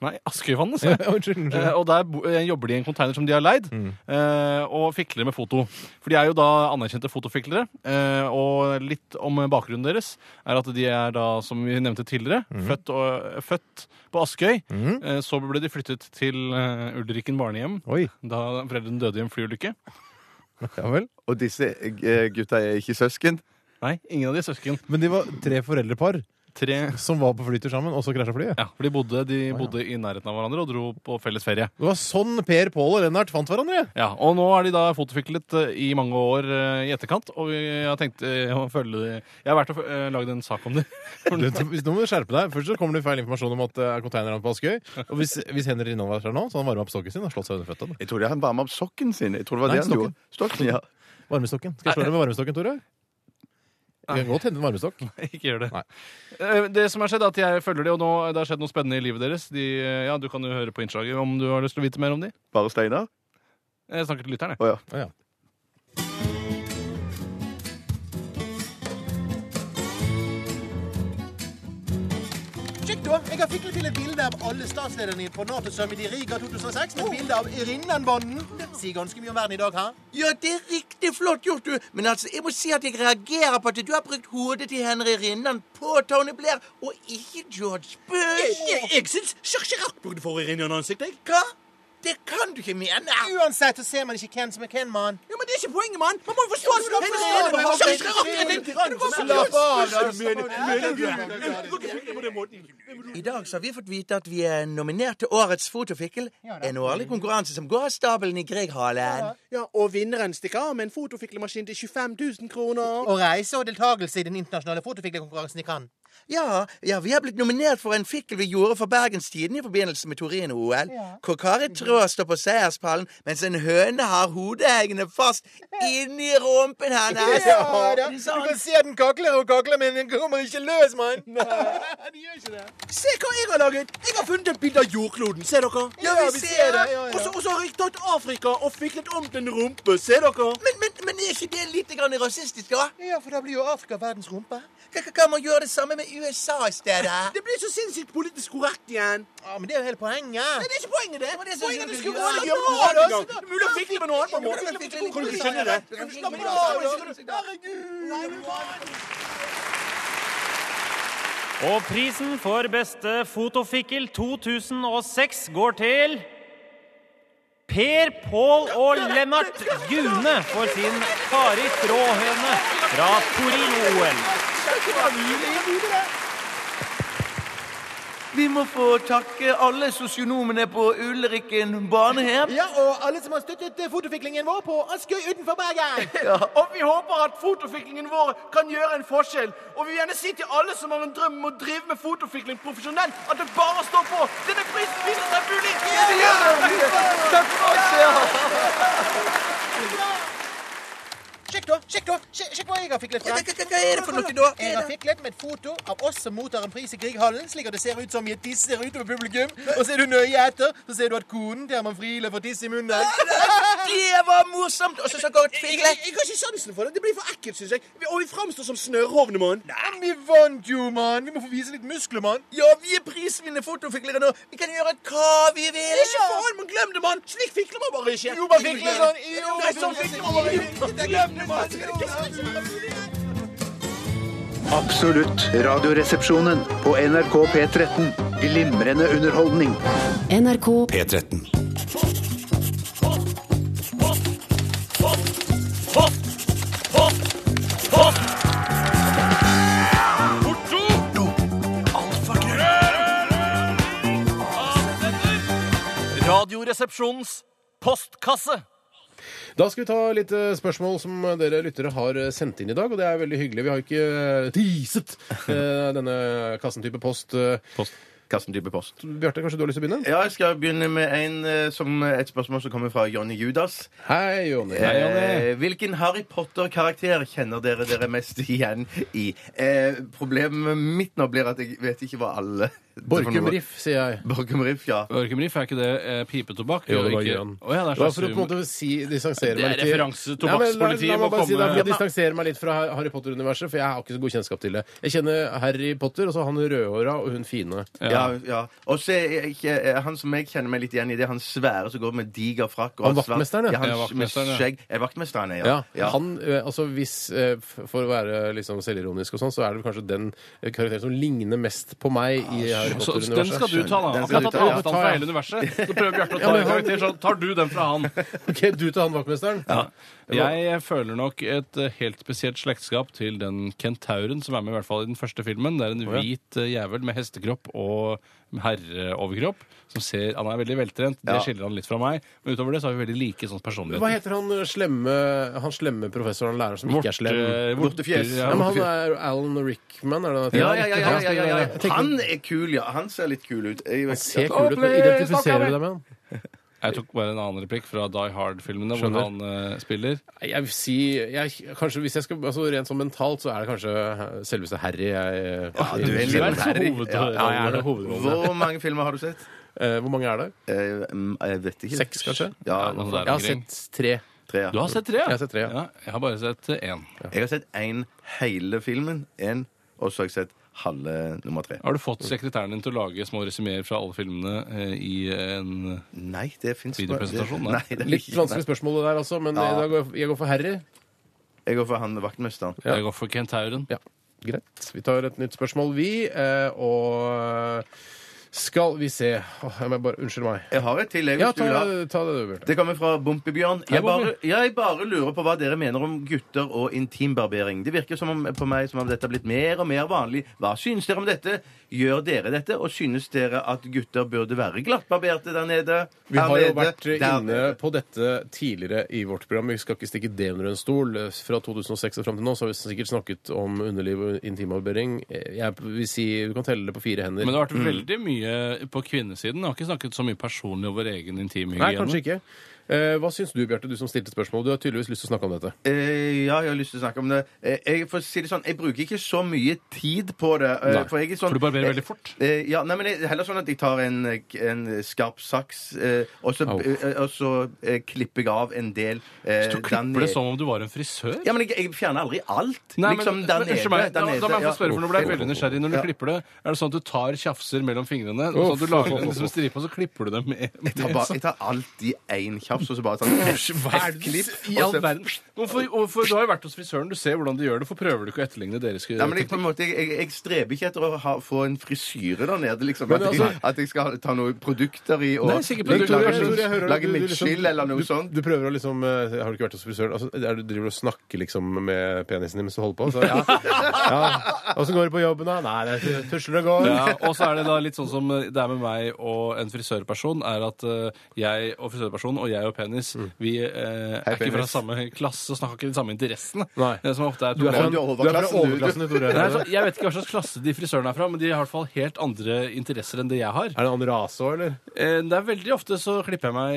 Speaker 8: Nei, Askøyvannet, sa
Speaker 7: *laughs* Ja,
Speaker 8: jeg.
Speaker 7: unnskyld. unnskyld.
Speaker 8: Eh, og der bo- eh, jobber de i en konteiner som de har leid, eh, og fikler med foto. For de er jo da anerkjente fotofiklere. Eh, og litt om bakgrunnen deres er at de er da, som vi nevnte tidligere, født, og, eh, født på Askøy. Eh, så ble de flyttet til eh, Ulriken barnehjem
Speaker 7: Oi.
Speaker 8: da foreldrene døde i en flyulykke.
Speaker 7: Ja vel.
Speaker 9: Og disse eh, gutta er ikke søsken?
Speaker 8: Nei, ingen av de er søsken.
Speaker 7: Men de var tre foreldrepar
Speaker 8: Tre
Speaker 7: som var på flytur sammen, og så krasja flyet?
Speaker 8: ja, for de bodde, de bodde i nærheten av hverandre og dro på felles ferie.
Speaker 7: Det var sånn Per, Pål og Lennart fant hverandre!
Speaker 8: Ja, Og nå er de da fotofiklet eh, i mange år eh, i etterkant, og vi har tenkt eh, å følge Jeg har vært og eh, lagd en sak om det. *laughs*
Speaker 7: Du, hvis- nå må du skjerpe deg. Først så kommer det feil informasjon om at det er konteinerhavn på Askøy. Og hvis, hvis Henry Rinnan var her nå, så hadde han varma opp stokken sin og slått seg under føttene.
Speaker 9: Jeg trodde han varma opp sokken sin. Jeg tror det var
Speaker 7: Nei,
Speaker 9: det han gjorde. Stokken, ja.
Speaker 7: Varmestokken. Skal jeg slå deg med varmestokken, Tore? Det kan godt hende en varmestokk.
Speaker 8: Ikke gjør det.
Speaker 7: Nei.
Speaker 8: Eh, Det som har skjedd, er at jeg følger de, og nå, det har skjedd noe spennende i livet deres. De, eh, ja, Du kan jo høre på innslaget om du har lyst til å vite mer om de.
Speaker 9: Bare Steinar?
Speaker 8: Jeg snakker til lytteren, jeg.
Speaker 9: Å ja.
Speaker 7: Å, ja.
Speaker 4: Sjekk da, jeg har fiklet til et bilde av alle statslederne på NATO-summit i Riga 2006 med bilde av Rinnan-banden. Sier ganske mye om verden i dag, hæ?
Speaker 10: Ja, det er riktig flott gjort, du. Men altså, jeg må si at jeg reagerer på at du har brukt hodet til Henry Rinnan på Tony Blair, og ikke George
Speaker 4: Jeg,
Speaker 10: Bush.
Speaker 4: jeg, jeg syns Jacques Chirac burde få Rinnan-ansiktet, jeg.
Speaker 10: Hva? Det kan du ikke mene.
Speaker 4: Uansett så ser man ikke hvem som er hvem, mann.
Speaker 10: Ja, men det er ikke poenget, mann. Man må jo forstå
Speaker 4: Ja, men da forstår du det.
Speaker 10: Jacques Chirac er en tyrann.
Speaker 4: Slapp av, da, mener-
Speaker 10: I dag så har vi fått vite at vi er nominert til Årets fotofikkel. En årlig konkurranse som går av stabelen i Grieghallen.
Speaker 4: Ja, og vinneren stikker av med en fotofiklemaskin til 25 000 kroner. Og reise og deltakelse i den internasjonale fotofiklekonkurransen i Cannes.
Speaker 10: Ja, ja, vi har blitt nominert for en fikkel vi gjorde for Bergenstiden i forbindelse med Torino-OL. Hvor Kari Traa står på seierspallen, mens en høne har hodehengende fast inni rumpen hennes.
Speaker 4: da,
Speaker 10: Det er
Speaker 4: Du
Speaker 10: sant.
Speaker 4: kan se at den kakler og kakler, men den kommer ikke løs, mann. Den gjør ikke det.
Speaker 10: Se hva jeg har laget! Jeg har funnet et bilde av jordkloden. Ser dere?
Speaker 4: Ja, vi ser det. Ja, ja.
Speaker 10: Og så- Og så har jeg tatt Afrika og fiklet om til en rumpe. Ser dere? Men, men, men er ikke det litt grann rasistisk, da?
Speaker 4: Ja, for da blir jo Afrika verdens rumpe.
Speaker 10: Kan- Kan man gjøre det samme med USA i stedet?
Speaker 4: Det blir så sinnssykt politisk korrekt igjen. Ja, Men det er jo hele poenget.
Speaker 10: Det er ikke poenget, det. det poenget er
Speaker 4: du
Speaker 10: det
Speaker 4: skulle
Speaker 10: skulle
Speaker 4: ordne det
Speaker 10: være ja,
Speaker 4: på en annen gang. Det er mulig å fikle med noe annet på en måte. Kan du ikke skjønne det? Slapp av, da. Herregud.
Speaker 8: Og prisen for beste fotofikkel 2006 går til Per Pål og Lennart Gune for sin Kari Tråhøne fra Torino-OL.
Speaker 15: Vi må få takke alle sosionomene på Ulrikken barnehjem.
Speaker 4: Ja, og alle som har støttet eh, fotofiklingen vår på Askøy utenfor Bergen.
Speaker 10: Og vi håper at fotofiklingen vår kan gjøre en forskjell. Og vi vil gjerne si til alle som har en drøm om å drive med fotofikling profesjonelt, at det bare står på. Denne prisen vinner seg mulig.
Speaker 4: Takk for oss, Sjekk da, sjekk da, sjekk, sjekk hva jeg har fiklet frem.
Speaker 16: hva- hva er det for noe da?
Speaker 4: Jeg har fiklet med et foto av oss som mottar en pris i Grieghallen, slik at det ser ut som jeg tisser utover publikum. Og ser du nøye etter, så ser du at konen til Herman Friele får tiss i munnen.
Speaker 16: Det var morsomt! Og så så godt fiklet.
Speaker 10: Jeg har ikke sansen for det. Det blir for ekkelt, syns jeg. Vi- Og vi framstår som snørrovne, mann.
Speaker 4: Men vi vant jo, mann! Vi må få vise litt muskler, mann.
Speaker 16: Ja, vi er prisvinnende fotofiklere nå. Vi kan gjøre hva vi vil.
Speaker 10: Ikke faen, men glem det, mann! Slik fikler man bare ikke.
Speaker 4: Jo, man fikler sånn. Jo, sånn.
Speaker 10: Nei, sånn fikler man bare ikke. Glem det, mann!
Speaker 17: Absolutt radioresepsjonen på NRK P13. Glimrende underholdning.
Speaker 18: NRK
Speaker 1: P13.
Speaker 10: Radioresepsjonens postkasse.
Speaker 7: Da skal vi ta litt eh, spørsmål som dere lyttere har eh, sendt inn i dag, og det er veldig hyggelig. Vi har jo ikke eh, teaset eh, denne kassentype post. post.
Speaker 9: Kassentype post.
Speaker 7: Bjarte, kanskje du har lyst til å begynne?
Speaker 9: Ja, jeg skal begynne med en, eh, som, et spørsmål som kommer fra Johnny Judas.
Speaker 7: Hei, Johnny.
Speaker 9: Eh, hvilken Harry Potter-karakter kjenner dere dere mest igjen i? Eh, problemet mitt nå blir at jeg vet ikke hva alle
Speaker 7: Borkum Riff, sier jeg.
Speaker 9: Borkum Riff, ja.
Speaker 8: Borkum Riff, er ikke det eh, pipetobakk?
Speaker 7: Jo, det var
Speaker 8: Ikke-
Speaker 7: grønn.
Speaker 8: Å ja, det er
Speaker 7: Det var
Speaker 8: slags
Speaker 7: for å på en måte si, distansere
Speaker 8: Det er
Speaker 7: meg litt.
Speaker 8: referanse,
Speaker 7: Nei, men la-
Speaker 8: tobakkspolitiet
Speaker 7: la meg
Speaker 8: må
Speaker 7: bare si det,
Speaker 8: komme-
Speaker 7: Jeg distanserer meg litt fra Harry Potter-universet, for jeg har ikke så god kjennskap til det. Jeg kjenner Harry Potter, og så han rødhåra og hun fine.
Speaker 9: Ja. ja. Og så er jeg ikke- eh, han som jeg kjenner meg litt igjen i, det er han svære som går med diger frakk.
Speaker 7: Han
Speaker 9: og svart-
Speaker 7: vaktmesteren, ja.
Speaker 9: ja.
Speaker 7: Ja,
Speaker 9: Han med
Speaker 7: vaktmesteren, ja.
Speaker 9: skjegg. Er det vaktmesteren, ja.
Speaker 7: Ja, han, eh, altså hvis, eh, f- For å være liksom selvironisk og sånn, så er det vel kanskje den eh, karakteren som ligner mest på meg i
Speaker 9: Ah,
Speaker 7: Harry
Speaker 8: Så,
Speaker 7: Potter-universet.
Speaker 8: så den skal du ta, da.
Speaker 7: Den
Speaker 8: Han
Speaker 7: skal
Speaker 8: har
Speaker 7: du
Speaker 8: tatt
Speaker 7: ta, ja.
Speaker 8: avstand fra hele universet. Så prøver Bjarte
Speaker 7: Ja,
Speaker 8: å ta
Speaker 7: men
Speaker 8: en
Speaker 7: han-
Speaker 8: karakter, så tar du den fra han.
Speaker 7: *laughs* OK, du til han vaktmesteren?
Speaker 8: Jeg føler nok et eh, helt spesielt slektskap til den kentauren som er med i hvert fall i den første filmen. Det er en
Speaker 7: Å, ja.
Speaker 8: hvit eh, jævel med hestekropp og herreoverkropp. Som ser, Han er veldig veltrent. Det
Speaker 7: Ja.
Speaker 8: skiller han litt fra meg. Men utover det så er vi veldig like sånn personligheter.
Speaker 7: Hva heter han eh, slemme, han slemme professoren læreren som ikke er slem?
Speaker 8: Vorte- Vortefjes.
Speaker 7: eh, Ja, men han
Speaker 9: Vortefjes.
Speaker 7: er Alan Rickman, er det han heter?
Speaker 9: Ja, ja, ja, ja, ja, ja,
Speaker 7: Jeg
Speaker 9: ja.
Speaker 7: tenker-
Speaker 9: Han er kul, ja. Han ser litt kul ut. Jeg vet-
Speaker 7: ser kul ut, men identifiserer du deg med han?
Speaker 8: Jeg tok bare en annen replikk fra Die Hard-filmene, hvor
Speaker 7: Skjønner.
Speaker 8: han eh, spiller.
Speaker 7: Nei, Jeg vil si jeg, kanskje hvis jeg skal, altså Rent sånn mentalt så er det kanskje eh, selveste Harry jeg Ja,
Speaker 9: du er en liten Harry.
Speaker 7: Ja, jeg er det hovedrollen.
Speaker 9: Hvor mange filmer har du sett? Eh, mm,
Speaker 7: Eh, Hvor mange er det?
Speaker 9: jeg vet ikke.
Speaker 7: Seks, kanskje?
Speaker 9: Ja,
Speaker 8: Ja, noe der
Speaker 7: jeg har
Speaker 8: omkring.
Speaker 7: sett tre.
Speaker 9: Tre, ja.
Speaker 8: Du har sett tre?
Speaker 7: Jeg har sett tre, ja.
Speaker 8: ja. Jeg har bare sett eh, én.
Speaker 9: Jeg har sett én hele filmen, en, og så har jeg sett halve nummer tre.
Speaker 8: Har du fått sekretæren din til å lage små resumeer fra alle filmene eh, i en
Speaker 9: Nei, det fins
Speaker 8: videopresentasjon?
Speaker 9: Nei, det er
Speaker 7: Litt
Speaker 9: ikke-
Speaker 7: vanskelig spørsmål det der, altså, men
Speaker 9: Ja.
Speaker 7: eh, da går jeg, jeg går for Harry.
Speaker 9: Jeg går for han med vaktmesteren.
Speaker 8: Ja. Jeg går for kentauren.
Speaker 7: Ja, greit. Vi tar et nytt spørsmål, vi. eh, Og skal vi se Åh, jeg må bare, Unnskyld meg.
Speaker 9: Jeg har et til. jeg,
Speaker 7: Ja,
Speaker 9: hvis du
Speaker 7: ta,
Speaker 9: vil ha.
Speaker 7: ta det, du, Bjarte.
Speaker 9: Det kommer fra Bompebjørn.
Speaker 7: Hei,
Speaker 9: Jeg bare,
Speaker 7: Bompe.
Speaker 9: jeg bare lurer på hva dere mener om gutter og intimbarbering. Det virker som om, på meg som om dette har blitt mer og mer vanlig. Hva synes dere om dette? Gjør dere dette? Og synes dere at gutter burde være glattbarberte der nede?
Speaker 7: Vi
Speaker 9: Her
Speaker 7: har jo
Speaker 9: nede?
Speaker 7: vært
Speaker 9: Der
Speaker 7: inne
Speaker 9: nede?
Speaker 7: på dette tidligere i vårt program. Vi skal ikke stikke det under en stol. Fra 2006 og fram til nå så har vi sikkert snakket om underliv og intimarbering. Jeg vil si du kan telle det på fire hender.
Speaker 8: Men det har vært
Speaker 9: Mm.
Speaker 8: veldig mye på kvinnesiden. Jeg har ikke snakket så mye personlig om vår egen intimhygiene.
Speaker 7: Nei, kanskje ikke. Eh, Hva syns du, Bjarte, du som stilte spørsmål? Du har tydeligvis lyst til å snakke om dette.
Speaker 9: Eh, ja, jeg har lyst til å snakke om det. Eh, jeg, får si det sånn, jeg bruker ikke så mye tid på det. eh,
Speaker 8: Nei,
Speaker 9: for, jeg er sånn,
Speaker 8: for du barberer
Speaker 9: eh,
Speaker 8: veldig fort.
Speaker 9: eh, ja, nei, men jeg, heller sånn at jeg tar en, eh, en skarp saks, eh, og så,
Speaker 7: Au.
Speaker 9: eh, og så eh, klipper jeg av en del. eh,
Speaker 8: Du
Speaker 9: der nede.
Speaker 8: klipper det som om du var en frisør.
Speaker 9: Ja, men jeg, jeg fjerner aldri alt.
Speaker 8: Nei, men,
Speaker 9: liksom der
Speaker 8: men,
Speaker 9: nede.
Speaker 8: unnskyld meg,
Speaker 9: der
Speaker 8: da,
Speaker 9: nede,
Speaker 8: da må jeg få
Speaker 9: ja.
Speaker 8: spørre, for nå ble jeg veldig nysgjerrig. Når du
Speaker 9: Ja.
Speaker 8: klipper det, er det sånn at du tar tjafser mellom fingrene?
Speaker 7: Uff,
Speaker 8: sånn at du
Speaker 7: uff,
Speaker 8: lager
Speaker 7: uff,
Speaker 8: en liksom
Speaker 7: uff.
Speaker 9: *laughs*
Speaker 8: stripe, og så klipper du dem med
Speaker 9: Jeg tar, bare, jeg tar alltid én kjapp. klaps, og så bare sånn *laughs*
Speaker 8: I all verden. Hvorfor, hvorfor, du har jo vært hos frisøren, du ser hvordan de gjør det. Hvorfor prøver du ikke å etterligne deres
Speaker 9: Nei, men jeg, på en måte, jeg, jeg, jeg streber ikke etter å ha, få en frisyre der nede. liksom
Speaker 8: Men
Speaker 9: At, jeg,
Speaker 8: altså-
Speaker 9: at jeg skal ta noen produkter i og
Speaker 7: Nei, sikkert
Speaker 9: lage-
Speaker 7: produkter. Jeg tror jeg hører
Speaker 9: lage,
Speaker 7: at
Speaker 9: lage
Speaker 7: du- du liksom-
Speaker 9: midtskill eller noe sånt.
Speaker 7: Du prøver å liksom eh, Har du ikke vært hos frisøren? Altså, er du driver du og snakker liksom med penisen din mens du holder på? Så, ja. ja. Åssen går det på jobben, da? Nei, det er tusler og går.
Speaker 8: Ja, og så er det da litt sånn som det er med meg og en frisørperson, er at eh, jeg og frisørpersonen og jeg og penis, vi eh, er ikke fra
Speaker 7: Mm. penis.
Speaker 8: samme klasse og snakker ikke de samme interessene.
Speaker 7: Nei.
Speaker 8: Det som ofte er
Speaker 7: Du er fra-
Speaker 8: problemet.
Speaker 7: du er overklassen, du. Du er fra overklassen, Tore.
Speaker 8: Nei, for Jeg vet ikke hva slags klasse de frisørene er fra, men de har i hvert fall helt andre interesser enn det jeg har.
Speaker 7: Er det en annen rase òg, eller?
Speaker 8: Eh, Det er veldig ofte så klipper jeg meg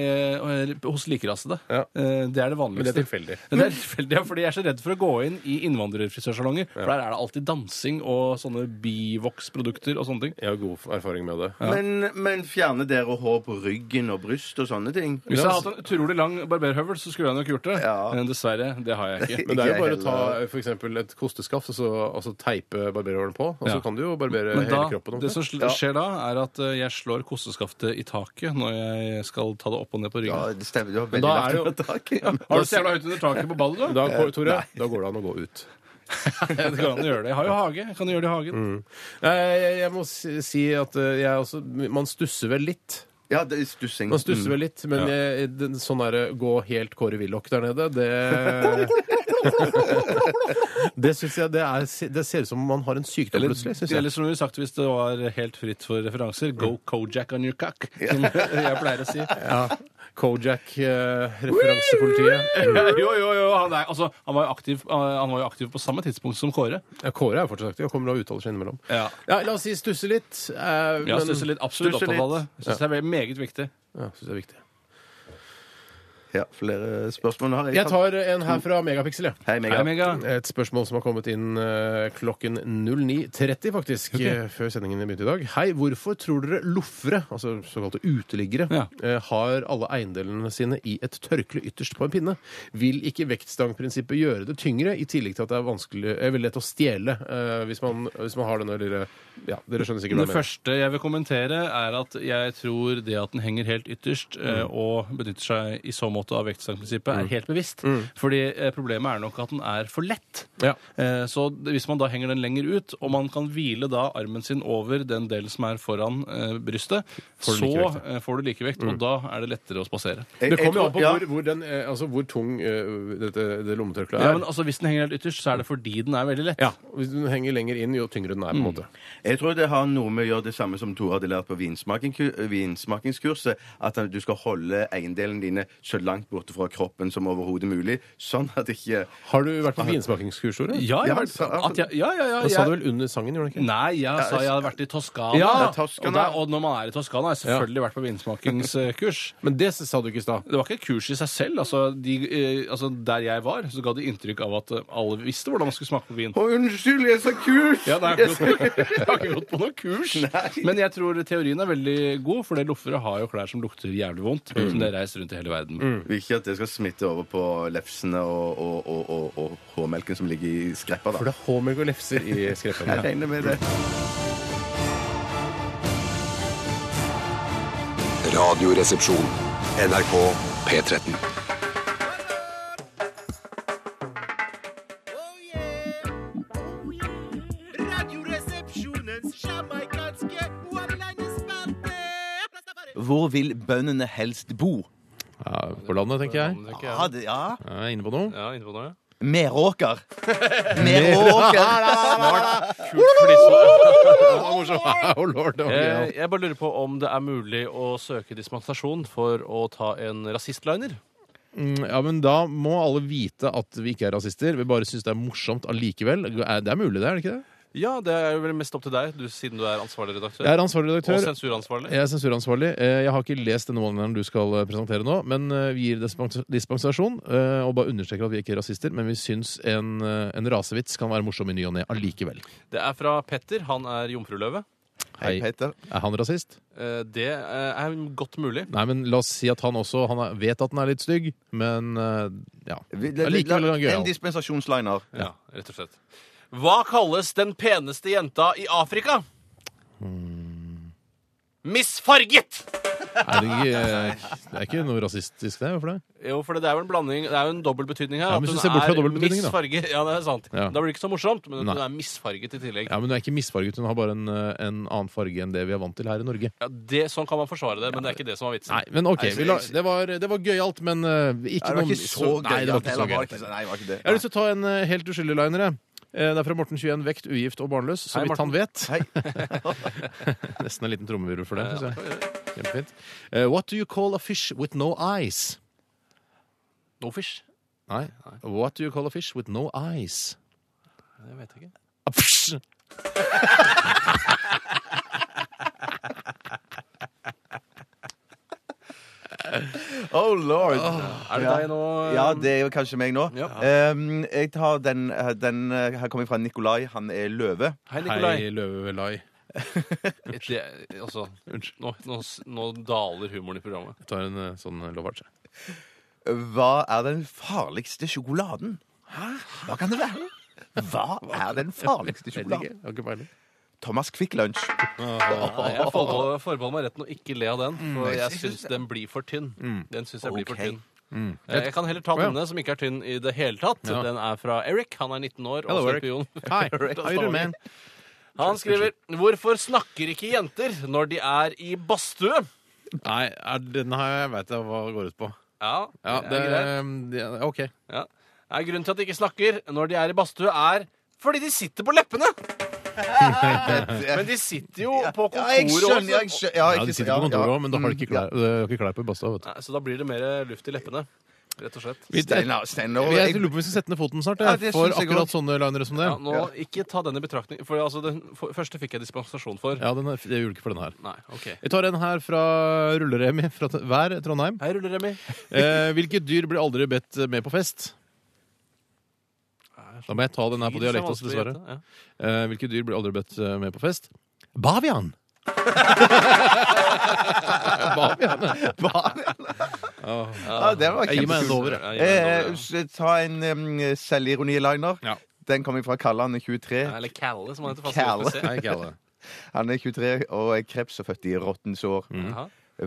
Speaker 8: eh, hos likerasede. Eh, Det er det vanligste.
Speaker 7: Men det er tilfeldig.
Speaker 8: Det er tilfeldig, ja, fordi jeg er så redd for å gå inn i innvandrerfrisørsalonger, for der er det alltid dansing og sånne bivoksprodukter og sånne ting.
Speaker 7: Jeg har god erfaring med det.
Speaker 9: Men, men fjerne dere hår på ryggen og bryst og sånne ting?
Speaker 8: Hvis jeg hadde
Speaker 7: altså-
Speaker 8: hatt en utrolig lang barberhøvel, så skulle jeg nok gjort det. *laughs* Men dessverre, det har jeg
Speaker 7: *laughs*
Speaker 8: ikke.
Speaker 7: Men det er jo bare å ta f.eks. et kosteskaft og så og så teipe barberhåren på. Og så
Speaker 8: Ja.
Speaker 7: kan du jo barbere
Speaker 8: Men da,
Speaker 7: hele kroppen.
Speaker 8: Det som sl- skjer da, er at eh, jeg slår kosteskaftet i taket når jeg skal ta det opp og ned på ryggen. Ja,
Speaker 9: det stemmer. Du har
Speaker 7: Men da er det jo- *laughs*
Speaker 8: Har du så jævla høyt under taket på ballet, du?
Speaker 7: Da, går- Tore, da går det an å gå ut.
Speaker 8: *laughs* det går an å gjøre det. Jeg har jo hage. Jeg kan jo gjøre det i hagen.
Speaker 7: Mm. Nei, Jeg, jeg må si si at eh, jeg også Man stusser vel litt.
Speaker 9: Ja, det er stussing.
Speaker 7: Man stusser vel
Speaker 9: Mm.
Speaker 7: litt, men
Speaker 9: Ja.
Speaker 7: jeg, den, sånn derre gå helt Kåre Willoch der nede, det Det syns jeg det, er, det ser ut som om man har en sykdom
Speaker 8: Eller,
Speaker 7: plutselig. Synes
Speaker 8: eller
Speaker 7: jeg.
Speaker 8: som vi sagt hvis det var helt fritt for referanser, go Kojak on your cock, *laughs* som jeg pleier å si.
Speaker 7: *laughs*
Speaker 8: *laughs*
Speaker 7: Ja. eh, Kojak-referansepolitiet.
Speaker 8: jo, jo, jo. Han, er, altså, han, var jo aktiv, han var jo aktiv på samme tidspunkt som Kåre.
Speaker 7: Ja, Kåre er jo fortsatt aktiv og kommer til å uttale seg innimellom.
Speaker 8: Ja.
Speaker 7: Ja, la oss si stusse litt. eh,
Speaker 8: Ja,
Speaker 7: men-
Speaker 8: stusse litt. Absolutt
Speaker 7: Stusse
Speaker 8: opptatt av det.
Speaker 7: litt.
Speaker 8: Jeg synes det er meget viktig.
Speaker 7: Ja, synes det er viktig.
Speaker 9: Ja, flere spørsmål har jeg.
Speaker 7: Jeg tar en her fra Megapixel. jeg.
Speaker 9: Hei, Mega. Hei,
Speaker 7: Et spørsmål som har kommet inn eh, klokken 09.30, faktisk,
Speaker 9: Ok.
Speaker 7: eh, før sendingen begynte i dag. Hei, hvorfor tror dere loffere, altså såkalte uteliggere, eh, har alle eiendelene sine i et tørkle ytterst på en pinne? Vil ikke vektstangprinsippet gjøre det tyngre, i tillegg til at det er vanskelig, eh, veldig lett å stjele eh, hvis, man, hvis man har denne lille Ja, dere skjønner sikkert hva
Speaker 8: Det
Speaker 7: jeg mener.
Speaker 8: første jeg vil kommentere, er at jeg tror det at den henger helt ytterst eh, og benytter seg i så måte av vektstangprinsippet,
Speaker 7: Mm.
Speaker 8: er helt bevisst.
Speaker 7: Mm.
Speaker 8: Fordi eh, problemet er nok at den er for lett.
Speaker 7: Ja.
Speaker 8: Eh, Så d- hvis man da henger den lenger ut, og man kan hvile da armen sin over den delen som er foran eh, brystet,
Speaker 7: Får du
Speaker 8: så
Speaker 7: likevekt,
Speaker 8: eh, får du likevekt,
Speaker 7: Mm.
Speaker 8: og da er det lettere å spasere.
Speaker 7: Det kommer jo an på hvor, hvor, den, eh, altså hvor tung eh, dette, det lommetørkleet er.
Speaker 8: Ja, men altså, Hvis den henger helt ytterst, så er det fordi den er veldig lett.
Speaker 7: Ja, Hvis den henger lenger inn, jo tyngre den er. på
Speaker 8: Mm.
Speaker 7: en måte.
Speaker 9: Jeg tror det har noe med å gjøre det samme som Tore hadde lært på vinsmaking- vinsmakingskurset. At du skal holde eiendelene dine så langt borte fra kroppen som overhodet mulig. Sånn at ikke
Speaker 7: Har du vært på vinsmakingskurs, Tore?
Speaker 8: Ja, jeg har vært- at jeg- ja, ja, ja,
Speaker 7: Det sa
Speaker 8: jeg-
Speaker 7: du vel under sangen, gjorde du ikke?
Speaker 8: Nei, jeg sa jeg hadde vært i Toskana.
Speaker 7: Ja,
Speaker 8: Det er Og,
Speaker 7: Toskana.
Speaker 8: der, og når man er i Toskana, har jeg selvfølgelig vært på vinsmakingskurs. *laughs*
Speaker 7: Men det sa du ikke i stad.
Speaker 8: Det var ikke et kurs i seg selv. Altså, de, eh, altså, der jeg var, så ga det inntrykk av at eh, alle visste hvordan man skulle smake på vin.
Speaker 9: Å, unnskyld, jeg sa kurs!
Speaker 8: Ja, nei,
Speaker 9: *laughs*
Speaker 8: jeg har ikke gått på noe kurs. Men jeg tror teorien er veldig god, for det loffere har jo klær som lukter jævlig vondt.
Speaker 9: Mm.
Speaker 8: Som det er reist rundt i hele verden.
Speaker 9: Vil Ikke at det skal smitte over på lefsene og, og, og, og, og hårmelken som ligger i skreppa. da.
Speaker 7: For det er håmelk og lefser i skreppen.
Speaker 9: *laughs* Jeg regner med det.
Speaker 1: Radioresepsjon. NRK P13.
Speaker 4: Radioresepsjonens jamaikanske one-linerspalte.
Speaker 19: Hvor vil bøndene helst bo?
Speaker 20: Ja, på landet, tenker jeg.
Speaker 19: Ja, det, ja.
Speaker 20: Jeg er inne på noe.
Speaker 8: Ja, inne på noe, ja. *laughs*
Speaker 19: Meråker. Meråker.
Speaker 8: *laughs*
Speaker 20: Oh, lord, det var gøy, ja.
Speaker 8: Eh, Jeg bare lurer på om det er mulig å søke dispensasjon for å ta en rasistliner.
Speaker 20: Mm, Ja, men Da må alle vite at vi ikke er rasister. Vi bare syns det er morsomt allikevel. Er- Det er mulig, det? er det ikke det?
Speaker 8: Ja, det er jo vel mest opp til deg, du, siden du er ansvarlig redaktør.
Speaker 20: Jeg er ansvarlig redaktør.
Speaker 8: Og sensuransvarlig.
Speaker 20: Jeg er sensuransvarlig. Eh, Jeg har ikke lest denne one-lineren du skal eh, presentere nå, men eh, vi gir dispens dispensasjon eh, og bare understreker at vi ikke er rasister, men vi syns en, eh, en rasevits kan være morsom i ny og ne allikevel.
Speaker 8: Det er fra Petter. Han er jomfruløve.
Speaker 20: Hei, Er han rasist?
Speaker 8: Eh, Det eh, er godt mulig.
Speaker 20: Nei, men la oss si at han også han er, vet at den er litt stygg, men eh, ja. Allikevel er han
Speaker 9: En
Speaker 20: gøyal.
Speaker 9: dispensasjonsliner.
Speaker 8: Ja, rett og slett. Hva kalles den
Speaker 7: Hmm.
Speaker 8: peneste jenta i Afrika? Misfarget!
Speaker 7: Er det, ikke, eh, det er ikke noe rasistisk, det? Hvorfor det?
Speaker 8: Jo, for det er jo en blanding Det er jo en dobbel betydning her.
Speaker 7: Ja, men hvis du ser bort fra dobbel betydning, da.
Speaker 8: misfarget. Ja, det er sant.
Speaker 7: Ja.
Speaker 8: Da blir det ikke så morsomt, men
Speaker 7: Nei.
Speaker 8: hun er misfarget i tillegg.
Speaker 7: Ja, men Hun er ikke misfarget, hun har bare en, eh, en annen farge enn det vi er vant til her i Norge.
Speaker 8: Ja, det, sånn kan man forsvare det, men det er ikke det som var vitsen.
Speaker 7: Nei, Men OK, vi la, det var, det var gøyalt, men eh, ikke
Speaker 8: det var
Speaker 7: noe
Speaker 8: ikke
Speaker 7: Nei,
Speaker 8: så
Speaker 7: det
Speaker 8: gøyalt,
Speaker 7: var ikke så
Speaker 8: heller, var det
Speaker 7: gøyalt.
Speaker 8: ikke så- nei, det var ikke det.
Speaker 7: Jeg har lyst til å ta en eh, helt uskyldig liner. jeg. Eh, Det er fra Morten 21, vekt, ugift og barnløs, så
Speaker 21: Hei,
Speaker 7: vidt han
Speaker 21: Morten.
Speaker 7: vet. Nesten en liten trommevirvel for det.
Speaker 21: Ja,
Speaker 7: synes jeg. Kjempefint. Eh, what do you call a fish with no eyes?
Speaker 8: No fish?
Speaker 7: Nei. What do you call a fish with no eyes?
Speaker 8: Det vet jeg ikke.
Speaker 7: A fish.
Speaker 9: Oh lord.
Speaker 8: Er det
Speaker 9: Ja.
Speaker 8: deg nå? um?
Speaker 9: Ja, det er jo kanskje meg nå.
Speaker 8: Ja.
Speaker 9: Ehm, jeg tar den, den eh, Her kommer jeg fra Nikolai. Han er løve.
Speaker 8: Hei, Nikolai. Hei,
Speaker 7: løvelai.
Speaker 8: Det, altså, nå, nå, nå daler humoren i programmet.
Speaker 7: Jeg tar en eh, sånn lovarche.
Speaker 9: Hva er den farligste sjokoladen? Hæ? Hva kan det være? Hva er den farligste sjokoladen? Thomas Quick Lunch.
Speaker 8: Jeg forbeholder *laughs* forbeholder meg retten å ikke le av den, for
Speaker 9: Mm. jeg
Speaker 8: jeg
Speaker 9: synes Mm.
Speaker 8: syns den blir for tynn. Den synes jeg blir for
Speaker 9: Ok. Mm.
Speaker 8: tynn. Eh, Jeg kan heller ta
Speaker 9: Å, ja.
Speaker 8: denne, som ikke er tynn i det hele tatt.
Speaker 9: Ja.
Speaker 8: Den er fra Eric. Han er 19 år
Speaker 9: Hello,
Speaker 8: og
Speaker 9: Eric.
Speaker 8: skorpion.
Speaker 9: Hi.
Speaker 8: *laughs* Eric fra
Speaker 9: How you doing,
Speaker 8: Stavanger.
Speaker 9: man?
Speaker 8: Han skriver Hvorfor snakker ikke jenter når de er i badstue?
Speaker 7: Nei, er, den her jeg vet jeg hva det går ut på.
Speaker 8: Ja,
Speaker 7: Ja,
Speaker 8: det
Speaker 7: det,
Speaker 8: er greit.
Speaker 7: det- OK.
Speaker 8: Ja. Nei, grunnen til at de ikke snakker når de er i badstue, er fordi de sitter på
Speaker 9: *laughs*
Speaker 8: leppene! Men de sitter jo på kontoret
Speaker 9: Ja, jeg skjønner,
Speaker 8: også.
Speaker 9: jeg skjønner.
Speaker 7: Ja,
Speaker 9: Ja,
Speaker 7: De
Speaker 9: ikke-
Speaker 7: sitter på
Speaker 9: ja,
Speaker 7: kontoret
Speaker 9: ja.
Speaker 7: òg, men da har de
Speaker 8: Mm,
Speaker 7: ikke klær, de har ikke klær på i badstua. vet du.
Speaker 8: Nei, så da blir det mer luft i leppene. Rett og slett.
Speaker 9: Steinar, Steinar.
Speaker 7: Jeg lurer på om vi skal sette ned foten snart.
Speaker 8: Ja,
Speaker 7: Jeg,
Speaker 8: det
Speaker 7: for
Speaker 8: synes jeg
Speaker 7: akkurat
Speaker 8: også.
Speaker 7: sånne linere som det.
Speaker 8: Ja, nå, Ikke ta den i betraktning. For altså, den for, første fikk jeg dispensasjon for.
Speaker 7: Ja, den er, det gjorde ikke for den her.
Speaker 8: Nei, ok.
Speaker 7: Jeg tar en her fra Rulleremi fra t- hver Trondheim.
Speaker 8: Hei, Rulleremi.
Speaker 7: Eh, hvilket dyr blir aldri bedt med på fest? Da må jeg ta den her på
Speaker 8: Dyr som
Speaker 7: dialekt også, dessverre.
Speaker 8: vanskelig å gjette,
Speaker 7: Eh, hvilket dyr blir aldri bedt eh, med på fest? *laughs* Bavian! Bavian.
Speaker 9: Ja, det var
Speaker 7: Jeg gir meg en
Speaker 9: kjempekult.
Speaker 7: dover, jeg.
Speaker 9: Eh, eh, Ta en um, selvironi-liner. Den kommer fra Kalle, han er 23.
Speaker 8: Eller Calle, som han heter.
Speaker 9: Kalle.
Speaker 8: fast. Hei, Kalle.
Speaker 9: *laughs* Han er 23 og er kreps og født i råttens år.
Speaker 7: Mm.
Speaker 8: Jaha.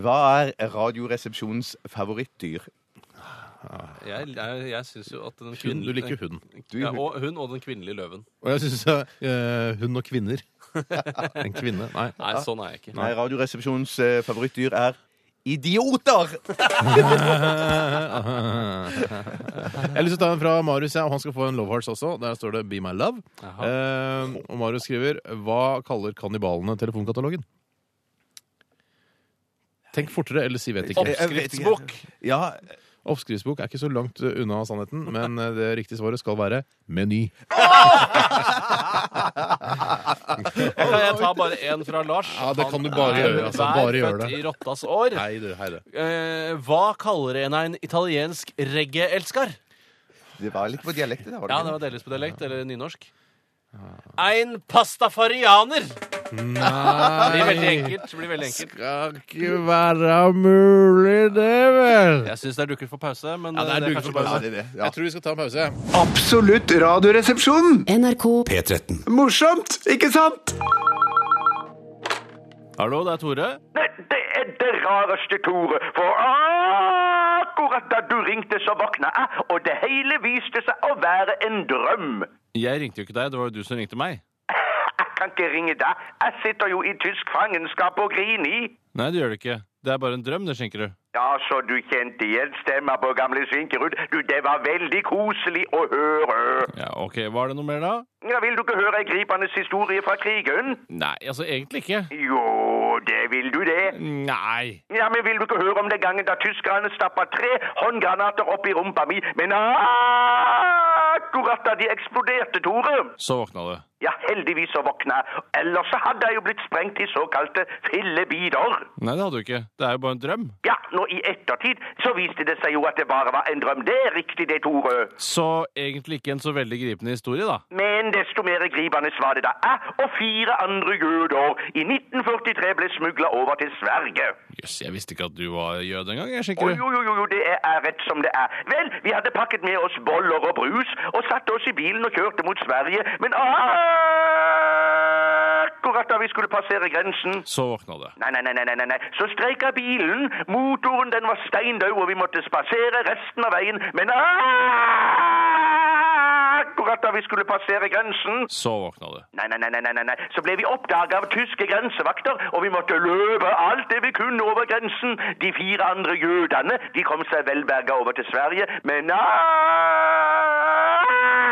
Speaker 9: Hva er Radioresepsjonens favorittdyr?
Speaker 8: Jeg, jeg, jeg syns jo at den
Speaker 7: Hund, du liker hund. Du-
Speaker 8: Ja, og hun og den kvinnelige løven.
Speaker 7: Og jeg syns hun og *laughs* kvinner En kvinne? Nei.
Speaker 8: Nei, sånn er jeg ikke.
Speaker 9: Nei, Radioresepsjonens eh, favorittdyr er idioter!
Speaker 7: Jeg har lyst til å ta en fra Marius, ja, og han skal få en Love Hearts også. Der står det 'Be my love'. Eh, og Marius skriver 'Hva kaller kannibalene telefonkatalogen'? Tenk fortere, eller si 'vet ikke'.
Speaker 8: Oppskriftsbok.
Speaker 9: Ja.
Speaker 7: Oppskriftsbok er ikke så langt eh, unna sannheten, men eh, det riktige svaret skal være meny.
Speaker 8: Jeg kan jeg ta bare en fra Lars?
Speaker 7: Ja, det
Speaker 8: Han
Speaker 7: kan du bare
Speaker 8: er
Speaker 7: gjøre, altså.
Speaker 8: hver
Speaker 7: Bare gjøre
Speaker 8: født
Speaker 7: det.
Speaker 8: i rottas år.
Speaker 7: Hei, du, hei, du.
Speaker 8: Eh, hva kaller en en italiensk reggae-elsker?
Speaker 9: Det var litt på dialekt. Det, Ah. var
Speaker 8: Ja, det var delvis på dialekt, eller nynorsk. Ein pastafarianer!
Speaker 7: Nei.
Speaker 8: Blir veldig enkelt. Blir veldig enkelt.
Speaker 7: Skal ikke være mulig, det vel?
Speaker 8: Jeg syns det er dukket for pause, men
Speaker 7: Ja, det er
Speaker 8: eh,
Speaker 7: dukket for
Speaker 8: kanskje
Speaker 7: pause.
Speaker 8: bare-
Speaker 7: Ja, det er det, ja. Jeg tror vi skal ta en pause.
Speaker 1: Absolutt radioresepsjon!
Speaker 22: NRK
Speaker 23: P13.
Speaker 1: Morsomt, ikke sant?
Speaker 8: Hallo, det er Tore.
Speaker 24: Dette er det rareste, Tore. For akkurat da du ringte, så våkna jeg, og det hele viste seg å være en drøm.
Speaker 8: Jeg ringte jo ikke deg, det var jo du som ringte meg.
Speaker 24: Jeg kan ikke ringe deg. Jeg sitter jo i tysk fangenskap og griner i.
Speaker 8: Nei, det gjør det ikke. Det er bare en drøm, det skjenker du.
Speaker 24: Ja, så du kjente igjen stemma på gamle Skinkerud. Du, det var veldig koselig å høre.
Speaker 8: Ja, ok, Var det noe mer da?
Speaker 24: Ja, Vil du ikke høre ei gripende historie fra krigen?
Speaker 8: Nei, altså egentlig ikke.
Speaker 24: Jo, det vil du det.
Speaker 8: Nei.
Speaker 24: Ja, men Vil du ikke høre om den gangen da tyskerne stappa tre håndgranater opp i rumpa mi, men akkurat da de eksploderte, Tore?
Speaker 8: Så våkna du.
Speaker 24: Ja, heldigvis så våkna jeg. Ellers så hadde jeg jo blitt sprengt i såkalte fillebiter.
Speaker 8: Nei, det hadde du ikke. Det er jo bare en drøm.
Speaker 24: Ja, nå i ettertid så viste det seg jo at det bare var en drøm. Det er riktig det, Tore.
Speaker 8: Så egentlig ikke en så veldig gripende historie, da.
Speaker 24: Men desto mer gripende var det da jeg og fire andre jøder i 1943 ble smugla over til Sverige.
Speaker 8: Jøss, jeg visste ikke at du var jøde engang, jeg,
Speaker 24: Og
Speaker 8: skjenker du.
Speaker 24: jo, jo, jo, jo, det er er rett som det er. Vel, vi hadde pakket med oss boller og brus og satte oss i bilen og kjørte mot Sverige, men akkurat akkurat da vi skulle passere grensen
Speaker 8: Så våkna det.
Speaker 24: Nei, nei, nei, nei, nei, nei. Så streika bilen. Motoren den var steindau, og vi måtte spasere resten av veien. Men akkurat da vi skulle passere grensen
Speaker 8: Så våkna det.
Speaker 24: Nei, nei, nei, nei, nei, nei. Så ble vi oppdaga av tyske grensevakter, og vi måtte løpe alt det vi kunne over grensen. De fire andre jødene de kom seg velberga over til Sverige, men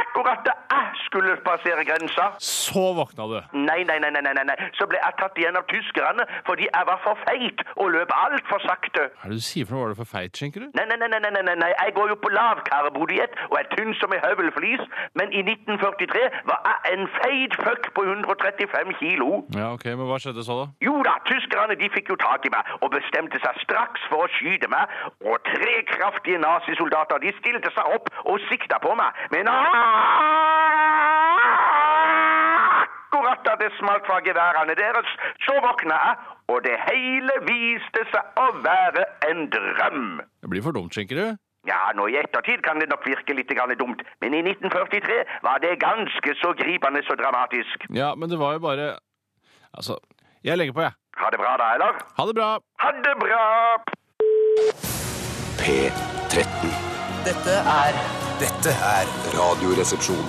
Speaker 24: akkurat da jeg skulle passere grensa
Speaker 8: Så våkna det.
Speaker 24: Nei, nei, nei, nei, nei, nei, nei. Så ble jeg tatt igjen av tyskerne fordi jeg var for feit og løp altfor sakte.
Speaker 8: Hva er det du sier for noe? Var det for feit, skjenker du?
Speaker 24: Nei, nei, nei, nei, nei, nei, nei, nei. Jeg går jo på lavkarbodiett og er tynn som ei høvelflis, men i 1943 var jeg en feit fuck på 135 kilo.
Speaker 8: Ja, ok, men hva skjedde så, da?
Speaker 24: Jo da, tyskerne de fikk jo tak i meg og bestemte seg straks for å skyte meg. Og tre kraftige nazisoldater de stilte seg opp og sikta på meg. Men akkurat da det smalt fra geværene deres, så våkna jeg. Og det hele viste seg å være en drøm.
Speaker 8: Det blir for dumt, skjenker du.
Speaker 24: Ja, nå i ettertid kan det nok virke litt grann dumt, men i 1943 var det ganske så gripende så dramatisk.
Speaker 8: Ja, men det var jo bare Altså, jeg legger på, jeg.
Speaker 24: Ha det bra da, eller?
Speaker 8: Ha det bra.
Speaker 24: Ha det bra!
Speaker 1: P13.
Speaker 25: Dette er
Speaker 1: Dette er Radioresepsjon.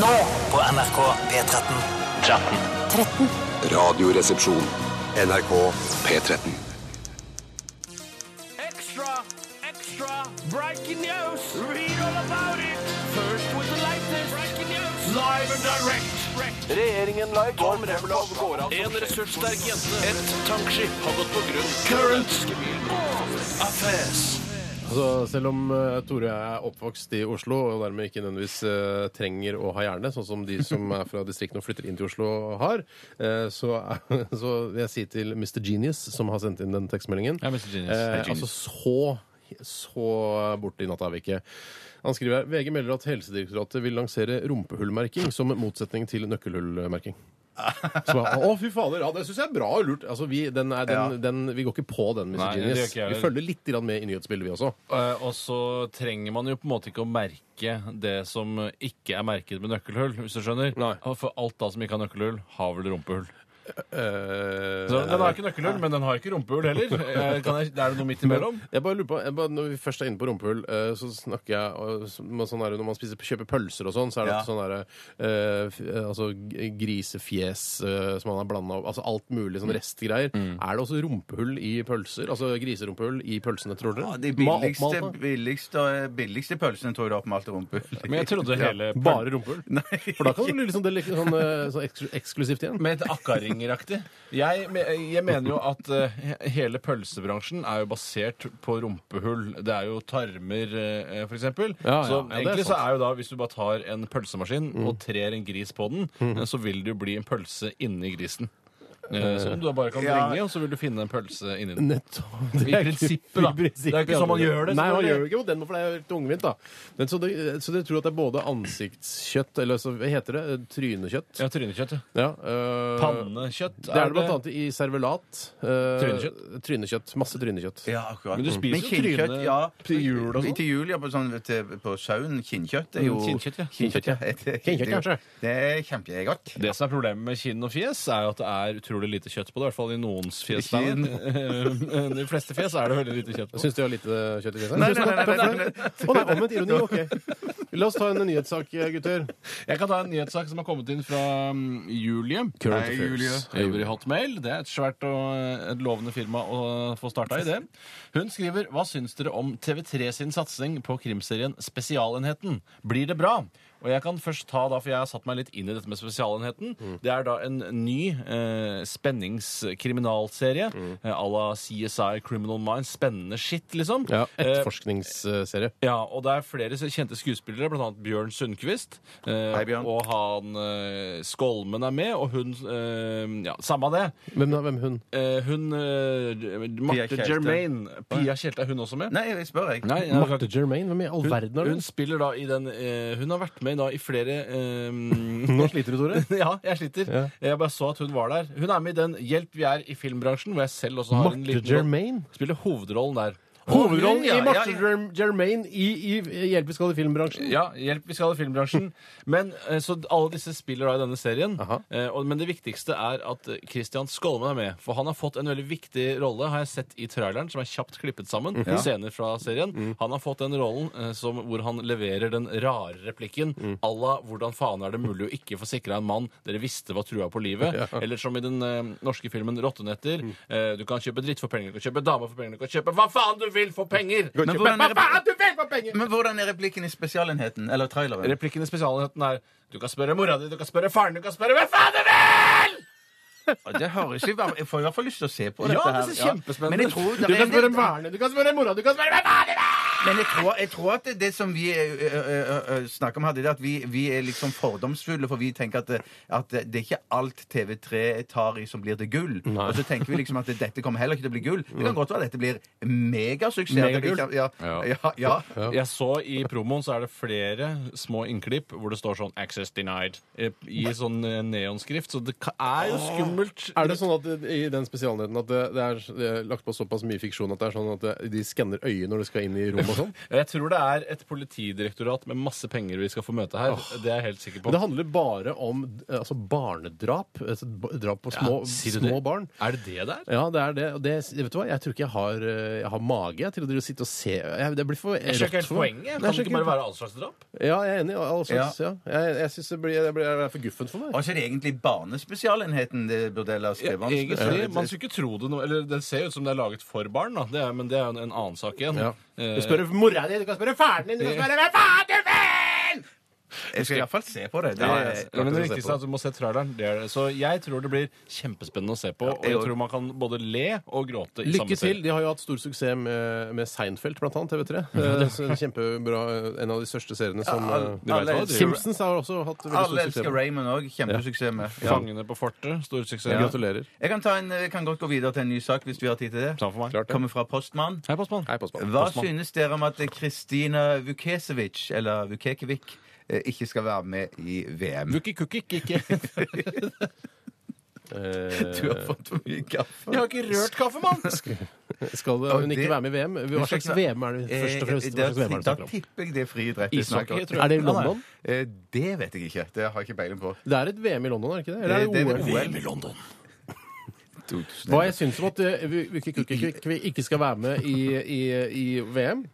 Speaker 25: nå på NRK P13. 13. 13.
Speaker 1: Radioresepsjon. NRK P13.
Speaker 10: Extra, extra, breaking news. Read all about it. First with the lightness. Breaking news. Live and direct. Regjeringen la i går En ressurssterk jente. Et tankskip har gått på grunn. Current. Affairs.
Speaker 7: Altså, selv om eh, Tore er oppvokst i Oslo og dermed ikke nødvendigvis eh, trenger å ha hjerne, sånn som de som er fra distriktene og flytter inn til Oslo har, eh, så, *laughs* er- så vil jeg si til Mr. Genius, som har sendt inn den tekstmeldingen
Speaker 8: Ja, Mr. Genius.
Speaker 7: eh,
Speaker 8: Hei, Genius.
Speaker 7: Altså så, så borte i natta er vi ikke. Han skriver her VG melder at Helsedirektoratet vil lansere rumpehullmerking som motsetning til
Speaker 8: *laughs*
Speaker 7: nøkkelhullmerking. Så bare, å, fy fader! Ja, det syns jeg er bra og lurt. Altså, vi, den er, den, den, vi går ikke på den, Mr.
Speaker 8: Nei, det
Speaker 7: Genius.
Speaker 8: gjør ikke jeg.
Speaker 7: Vi følger litt grann med i nyhetsbildet, vi også.
Speaker 8: Eh, Og så trenger man jo på en måte ikke å merke det som ikke er merket med nøkkelhull, hvis du skjønner. Og For alt da som ikke har nøkkelhull, har vel rumpehull.
Speaker 7: Eh,
Speaker 8: så den har ikke nøkkelhull, men den har ikke rumpehull
Speaker 26: *laughs*
Speaker 8: heller. Eh, Kan jeg, er det noe midt imellom?
Speaker 7: Men Jeg bare lurer på, jeg bare, Når vi først er inne på rumpehull, eh, så snakker jeg og, så- men sånn er det Når man spiser, kjøper pølser og sånn, så er det
Speaker 8: Ja.
Speaker 7: sånn derre eh, f- eh, altså, g- grisefjes eh, som man har blanda opp Altså alt mulig
Speaker 9: Mm.
Speaker 7: sånn restgreier. Er det også rumpehull i pølser? Altså griserumpehull i pølsene, tror dere?
Speaker 9: Ja, de
Speaker 7: Ma-
Speaker 9: billigste,
Speaker 7: oppmalt, da?
Speaker 9: billigste, billigste pølsene tror jeg oppmalte rumpehull.
Speaker 7: Men jeg
Speaker 9: *laughs*
Speaker 7: trodde hele- Bare rumpehull? For da kan det bli litt sånn, deli- sånn, eh, sånn eks eksklusivt igjen.
Speaker 8: Med et akkaringeraktig. Jeg, me- jeg mener jo at eh, hele pølsebransjen er jo basert på rumpehull. Det er jo tarmer, eh, for eksempel.
Speaker 26: Ja, ja,
Speaker 8: så
Speaker 26: ja, det er
Speaker 8: egentlig så
Speaker 26: sant.
Speaker 8: er jo da, hvis du bare tar en pølsemaskin
Speaker 26: Mm.
Speaker 8: og trer en gris på den,
Speaker 26: Mm.
Speaker 8: eh, så vil det jo bli en pølse inni grisen. Eh,
Speaker 26: Eh,
Speaker 8: Som du da bare kan
Speaker 26: ja.
Speaker 8: bringe, og så vil du finne en pølse inni den.
Speaker 7: Nettopp.
Speaker 8: *laughs* I prinsippet, da. Det er jo ikke sånn man gjør det.
Speaker 7: Nei, man
Speaker 8: selvfølgelig.
Speaker 7: gjør jo ikke det, for det er jo helt tungvint, da. Men, så, det, så dere tror at det er både ansiktskjøtt, eller så, hva heter det? Trynekjøtt?
Speaker 8: Ja, trynekjøtt, ja.
Speaker 7: Ja, øh,
Speaker 8: Pannekjøtt,
Speaker 7: Det er
Speaker 8: er
Speaker 7: det blant
Speaker 8: det-
Speaker 7: annet i servelat. øh,
Speaker 9: Trynekjøtt?
Speaker 7: Trynekjøtt. Masse trynekjøtt.
Speaker 9: Ja, akkurat.
Speaker 7: Mm.
Speaker 9: kinnkjøtt, ja.
Speaker 7: Til jul og sånn.
Speaker 9: Til jul, ja, på, sånn, til, på sauen. Kinnkjøtt er
Speaker 8: Mm,
Speaker 9: jo
Speaker 8: kinnkjøtt, ja.
Speaker 9: Kinnkjøtt, ja.
Speaker 8: Kinnkjøtt, kanskje.
Speaker 9: Det er kjempegodt.
Speaker 8: Det som er problemet med kinn og fjes, er jo at det er utrolig lite kjøtt på det. I hvert fall i noens fjes. *laughs* da.
Speaker 9: Kinn.
Speaker 8: Eh, De fleste fjes er det veldig lite kjøtt på.
Speaker 7: Syns du har lite kjøtt i fjeset?
Speaker 8: Nei,
Speaker 7: Tusen
Speaker 8: nei, nei,
Speaker 7: takk
Speaker 8: nei,
Speaker 7: for
Speaker 8: nei,
Speaker 7: det. Å nei, omvendt ironi. OK. La oss ta en nyhetssak, gutter.
Speaker 8: Jeg kan ta en nyhetssak som har kommet inn fra mm, Julie.
Speaker 7: Current Hei, affairs. Julie. Hei,
Speaker 8: Jobber i Hotmail. Det er et svært og eh, et lovende firma å få starta i det. Hun skriver Hva syns dere om TV3 sin satsing på krimserien Spesialenheten? Blir det bra? Og jeg kan først ta da, for jeg har satt meg litt inn i dette med Spesialenheten.
Speaker 7: Mm.
Speaker 8: Det er da en ny eh, spenningskriminalserie
Speaker 7: Mm.
Speaker 8: eh, à la CSI Criminal Minds. Spennende shit, liksom.
Speaker 7: Ja,
Speaker 8: Eh,
Speaker 7: Etterforskningsserie.
Speaker 8: ja, og det er flere kjente skuespillere, blant annet Bjørn Sundquist. Eh, Og han eh, Skolmen er med, og hun eh, Ja, samme av det.
Speaker 7: Hvem, da? Hvem hun?
Speaker 8: Eh, hun eh, Marte
Speaker 7: Kjelte.
Speaker 8: Germaine. Pia Kjelte, er hun også med?
Speaker 9: *laughs* Nei, jeg spør, jeg.
Speaker 8: Nei, jeg-
Speaker 7: Marte Germain? Hvem i all verden er
Speaker 8: Hun
Speaker 7: det?
Speaker 8: spiller da i den eh, Hun har vært med da i flere
Speaker 7: *laughs*
Speaker 8: eh,
Speaker 7: Nå sliter du, Tore.
Speaker 8: *laughs* ja, jeg sliter.
Speaker 7: Ja.
Speaker 8: Jeg bare så at hun var der. Hun er med i den Hjelp, vi er i filmbransjen, hvor jeg selv også har en
Speaker 7: Marte
Speaker 8: liten rolle.
Speaker 7: Germain?
Speaker 8: Spiller hovedrollen der.
Speaker 7: Hovedrollen
Speaker 8: ja,
Speaker 7: i
Speaker 8: ja,
Speaker 7: Marte
Speaker 8: ja.
Speaker 7: Germ- Germain i, i Hjelp vi skal i filmbransjen.
Speaker 8: Ja, hjelp, vi skal i filmbransjen. Men eh, så alle disse spiller da i denne serien. Eh, og, men det viktigste er at eh, Christian Skolmen er med. For han har fått en veldig viktig rolle, har jeg sett i traileren, som er kjapt klippet sammen.
Speaker 9: Ja.
Speaker 8: Scener fra serien. Han har fått den rollen eh, som, hvor han leverer den rare replikken à la 'Hvordan faen er det mulig å ikke få sikra en mann dere visste var trua på livet?'
Speaker 9: Ja.
Speaker 8: Eller som i den eh, norske filmen 'Rottenetter'. Eh, du kan kjøpe dritt for penger, du kan kjøpe dame for penger, du kan kjøpe hva faen du vil for penger!
Speaker 9: Men
Speaker 8: Men
Speaker 9: hvordan er
Speaker 8: hva faen du vil for penger!
Speaker 9: Men hvordan er replikken i Spesialenheten? Eller traileren?
Speaker 8: Replikken i spesialenheten er Du kan spørre mora di, du kan spørre faren, du kan spørre hvem faen du
Speaker 9: Og Det høres jo, Jeg får i hvert fall lyst til å se på
Speaker 8: Ja,
Speaker 9: dette. her.
Speaker 8: det er kjempespennende.
Speaker 9: Men jeg tror, det
Speaker 8: Du
Speaker 9: er
Speaker 8: kan
Speaker 9: en
Speaker 8: spørre
Speaker 9: del-
Speaker 7: Verne, du kan spørre mora, du kan spørre hvem faen du vil!
Speaker 9: Men jeg tror, jeg tror at det, det som vi eh, ø, ø, ø, ø, snakker om her, det er at vi, vi er liksom fordomsfulle, for vi tenker at, det- at det er ikke alt TV3 tar i som blir til gull. Og så tenker vi liksom at dette kommer heller ikke til å bli gull. Det kan godt være at dette blir megasuksess. at det
Speaker 8: Megagull.
Speaker 9: ikke- Ja, ja, ja.
Speaker 8: Jeg så i promoen så er det flere små innklipp hvor det står sånn 'Access denied' eh, i sånn eh, neonskrift, så det ka- er jo skummelt.
Speaker 7: Er det sånn at det- i den spesialenheten at det, det, er, det er lagt på såpass mye fiksjon at det er sånn at det, de skanner øyet når de skal inn i rom og sånn?
Speaker 8: Jeg tror det er et politidirektorat med masse penger vi skal få møte her. Det er jeg helt sikker på.
Speaker 7: Men det handler bare om eh, altså, barnedrap. Altså, ba- drap på
Speaker 8: Ja,
Speaker 7: små,
Speaker 8: sier du
Speaker 7: små
Speaker 8: det?
Speaker 7: barn.
Speaker 8: Er det det der?
Speaker 7: Ja, det er det. Og det vet du hva? Jeg tror ikke jeg har, eh, jeg har mage jeg, til å drive og sitte og se. Jeg, det blir for
Speaker 8: Jeg skjønner ikke
Speaker 7: rått
Speaker 8: helt
Speaker 7: for meg.
Speaker 8: poenget.
Speaker 7: Nei, jeg
Speaker 8: Kan det
Speaker 7: skjønner
Speaker 8: ikke bare
Speaker 7: ikke-
Speaker 8: være all slags drap?
Speaker 7: Ja, jeg er enig. Alle slags, ja. Jeg, jeg syns det, blir- det, blir- det er for guffent for meg.
Speaker 9: Og så er det egentlig Barnespesialenheten det burde jeg la skrive om.
Speaker 8: Egentlig, Man skulle ikke tro det nå. Eller det ser jo ut som det er laget for barn, da. Det er, men det er jo en, en annen sak igjen.
Speaker 7: Ja.
Speaker 8: Eh,
Speaker 7: Du spør mora di, du kan spørre faren din, du kan spørre hvem faen du vil!
Speaker 9: Jeg skal iallfall se på det. det
Speaker 8: eh, Ja,
Speaker 9: er-
Speaker 8: ja, men det viktigste er at du må se traileren. Det er det. Så jeg tror det blir kjempespennende å se på. Og jeg tror man kan både le og gråte i
Speaker 7: Lykke
Speaker 8: samme
Speaker 7: til.
Speaker 8: serie.
Speaker 7: De har jo hatt stor suksess med, med Seinfeld, blant annet, TV3.
Speaker 8: *laughs* Ja,
Speaker 7: Eh,
Speaker 8: det-
Speaker 7: så en Kjempebra, eh, en av de største seriene som
Speaker 8: Ja,
Speaker 7: eh,
Speaker 8: du vet hva, du-
Speaker 7: Simpsons har også hatt veldig
Speaker 9: Alle
Speaker 7: stor
Speaker 9: elsker
Speaker 7: suksess.
Speaker 9: Raymond òg. Kjempesuksess med.
Speaker 7: Ja.
Speaker 8: Fangene på fortet. Stor suksess.
Speaker 9: Ja.
Speaker 7: Gratulerer.
Speaker 9: Jeg kan, ta en, jeg kan godt gå videre til en ny sak hvis vi har tid til det. Kommer fra Postmann.
Speaker 8: Hei, Postmann.
Speaker 9: Hva
Speaker 8: Postmann.
Speaker 9: synes dere om at Kristina Vukesevic, eller Vukekevic, eh, ikke skal være med i VM?
Speaker 8: Vukikukik, ikke.
Speaker 7: Eh,
Speaker 8: *laughs*
Speaker 9: Du har fått for mye kaffe.
Speaker 8: Jeg har ikke rørt kaffe, mann!
Speaker 7: *laughs* Skal
Speaker 9: Og
Speaker 7: hun ikke
Speaker 9: det-
Speaker 7: være med i VM? Hva slags VM er det først og fremst?
Speaker 9: Eh,
Speaker 7: Hva slags VM er det du
Speaker 9: Da
Speaker 7: snakker om?
Speaker 9: tipper jeg det er friidrett. vi
Speaker 7: Ishockey,
Speaker 9: snakker om.
Speaker 7: tror jeg. Er det i London?
Speaker 9: Eh, Det vet jeg ikke. Det har jeg ikke peiling på. Eh,
Speaker 7: Det er et VM i London, er det ikke Eh, det? Eller
Speaker 9: Det-
Speaker 7: er
Speaker 9: det er
Speaker 7: det
Speaker 9: et
Speaker 7: OL?
Speaker 9: VM i London. *laughs*
Speaker 7: Hva jeg syns om at eh, vi, vi, ikke- ikke- ikke- vi ikke skal være med i, i, i VM?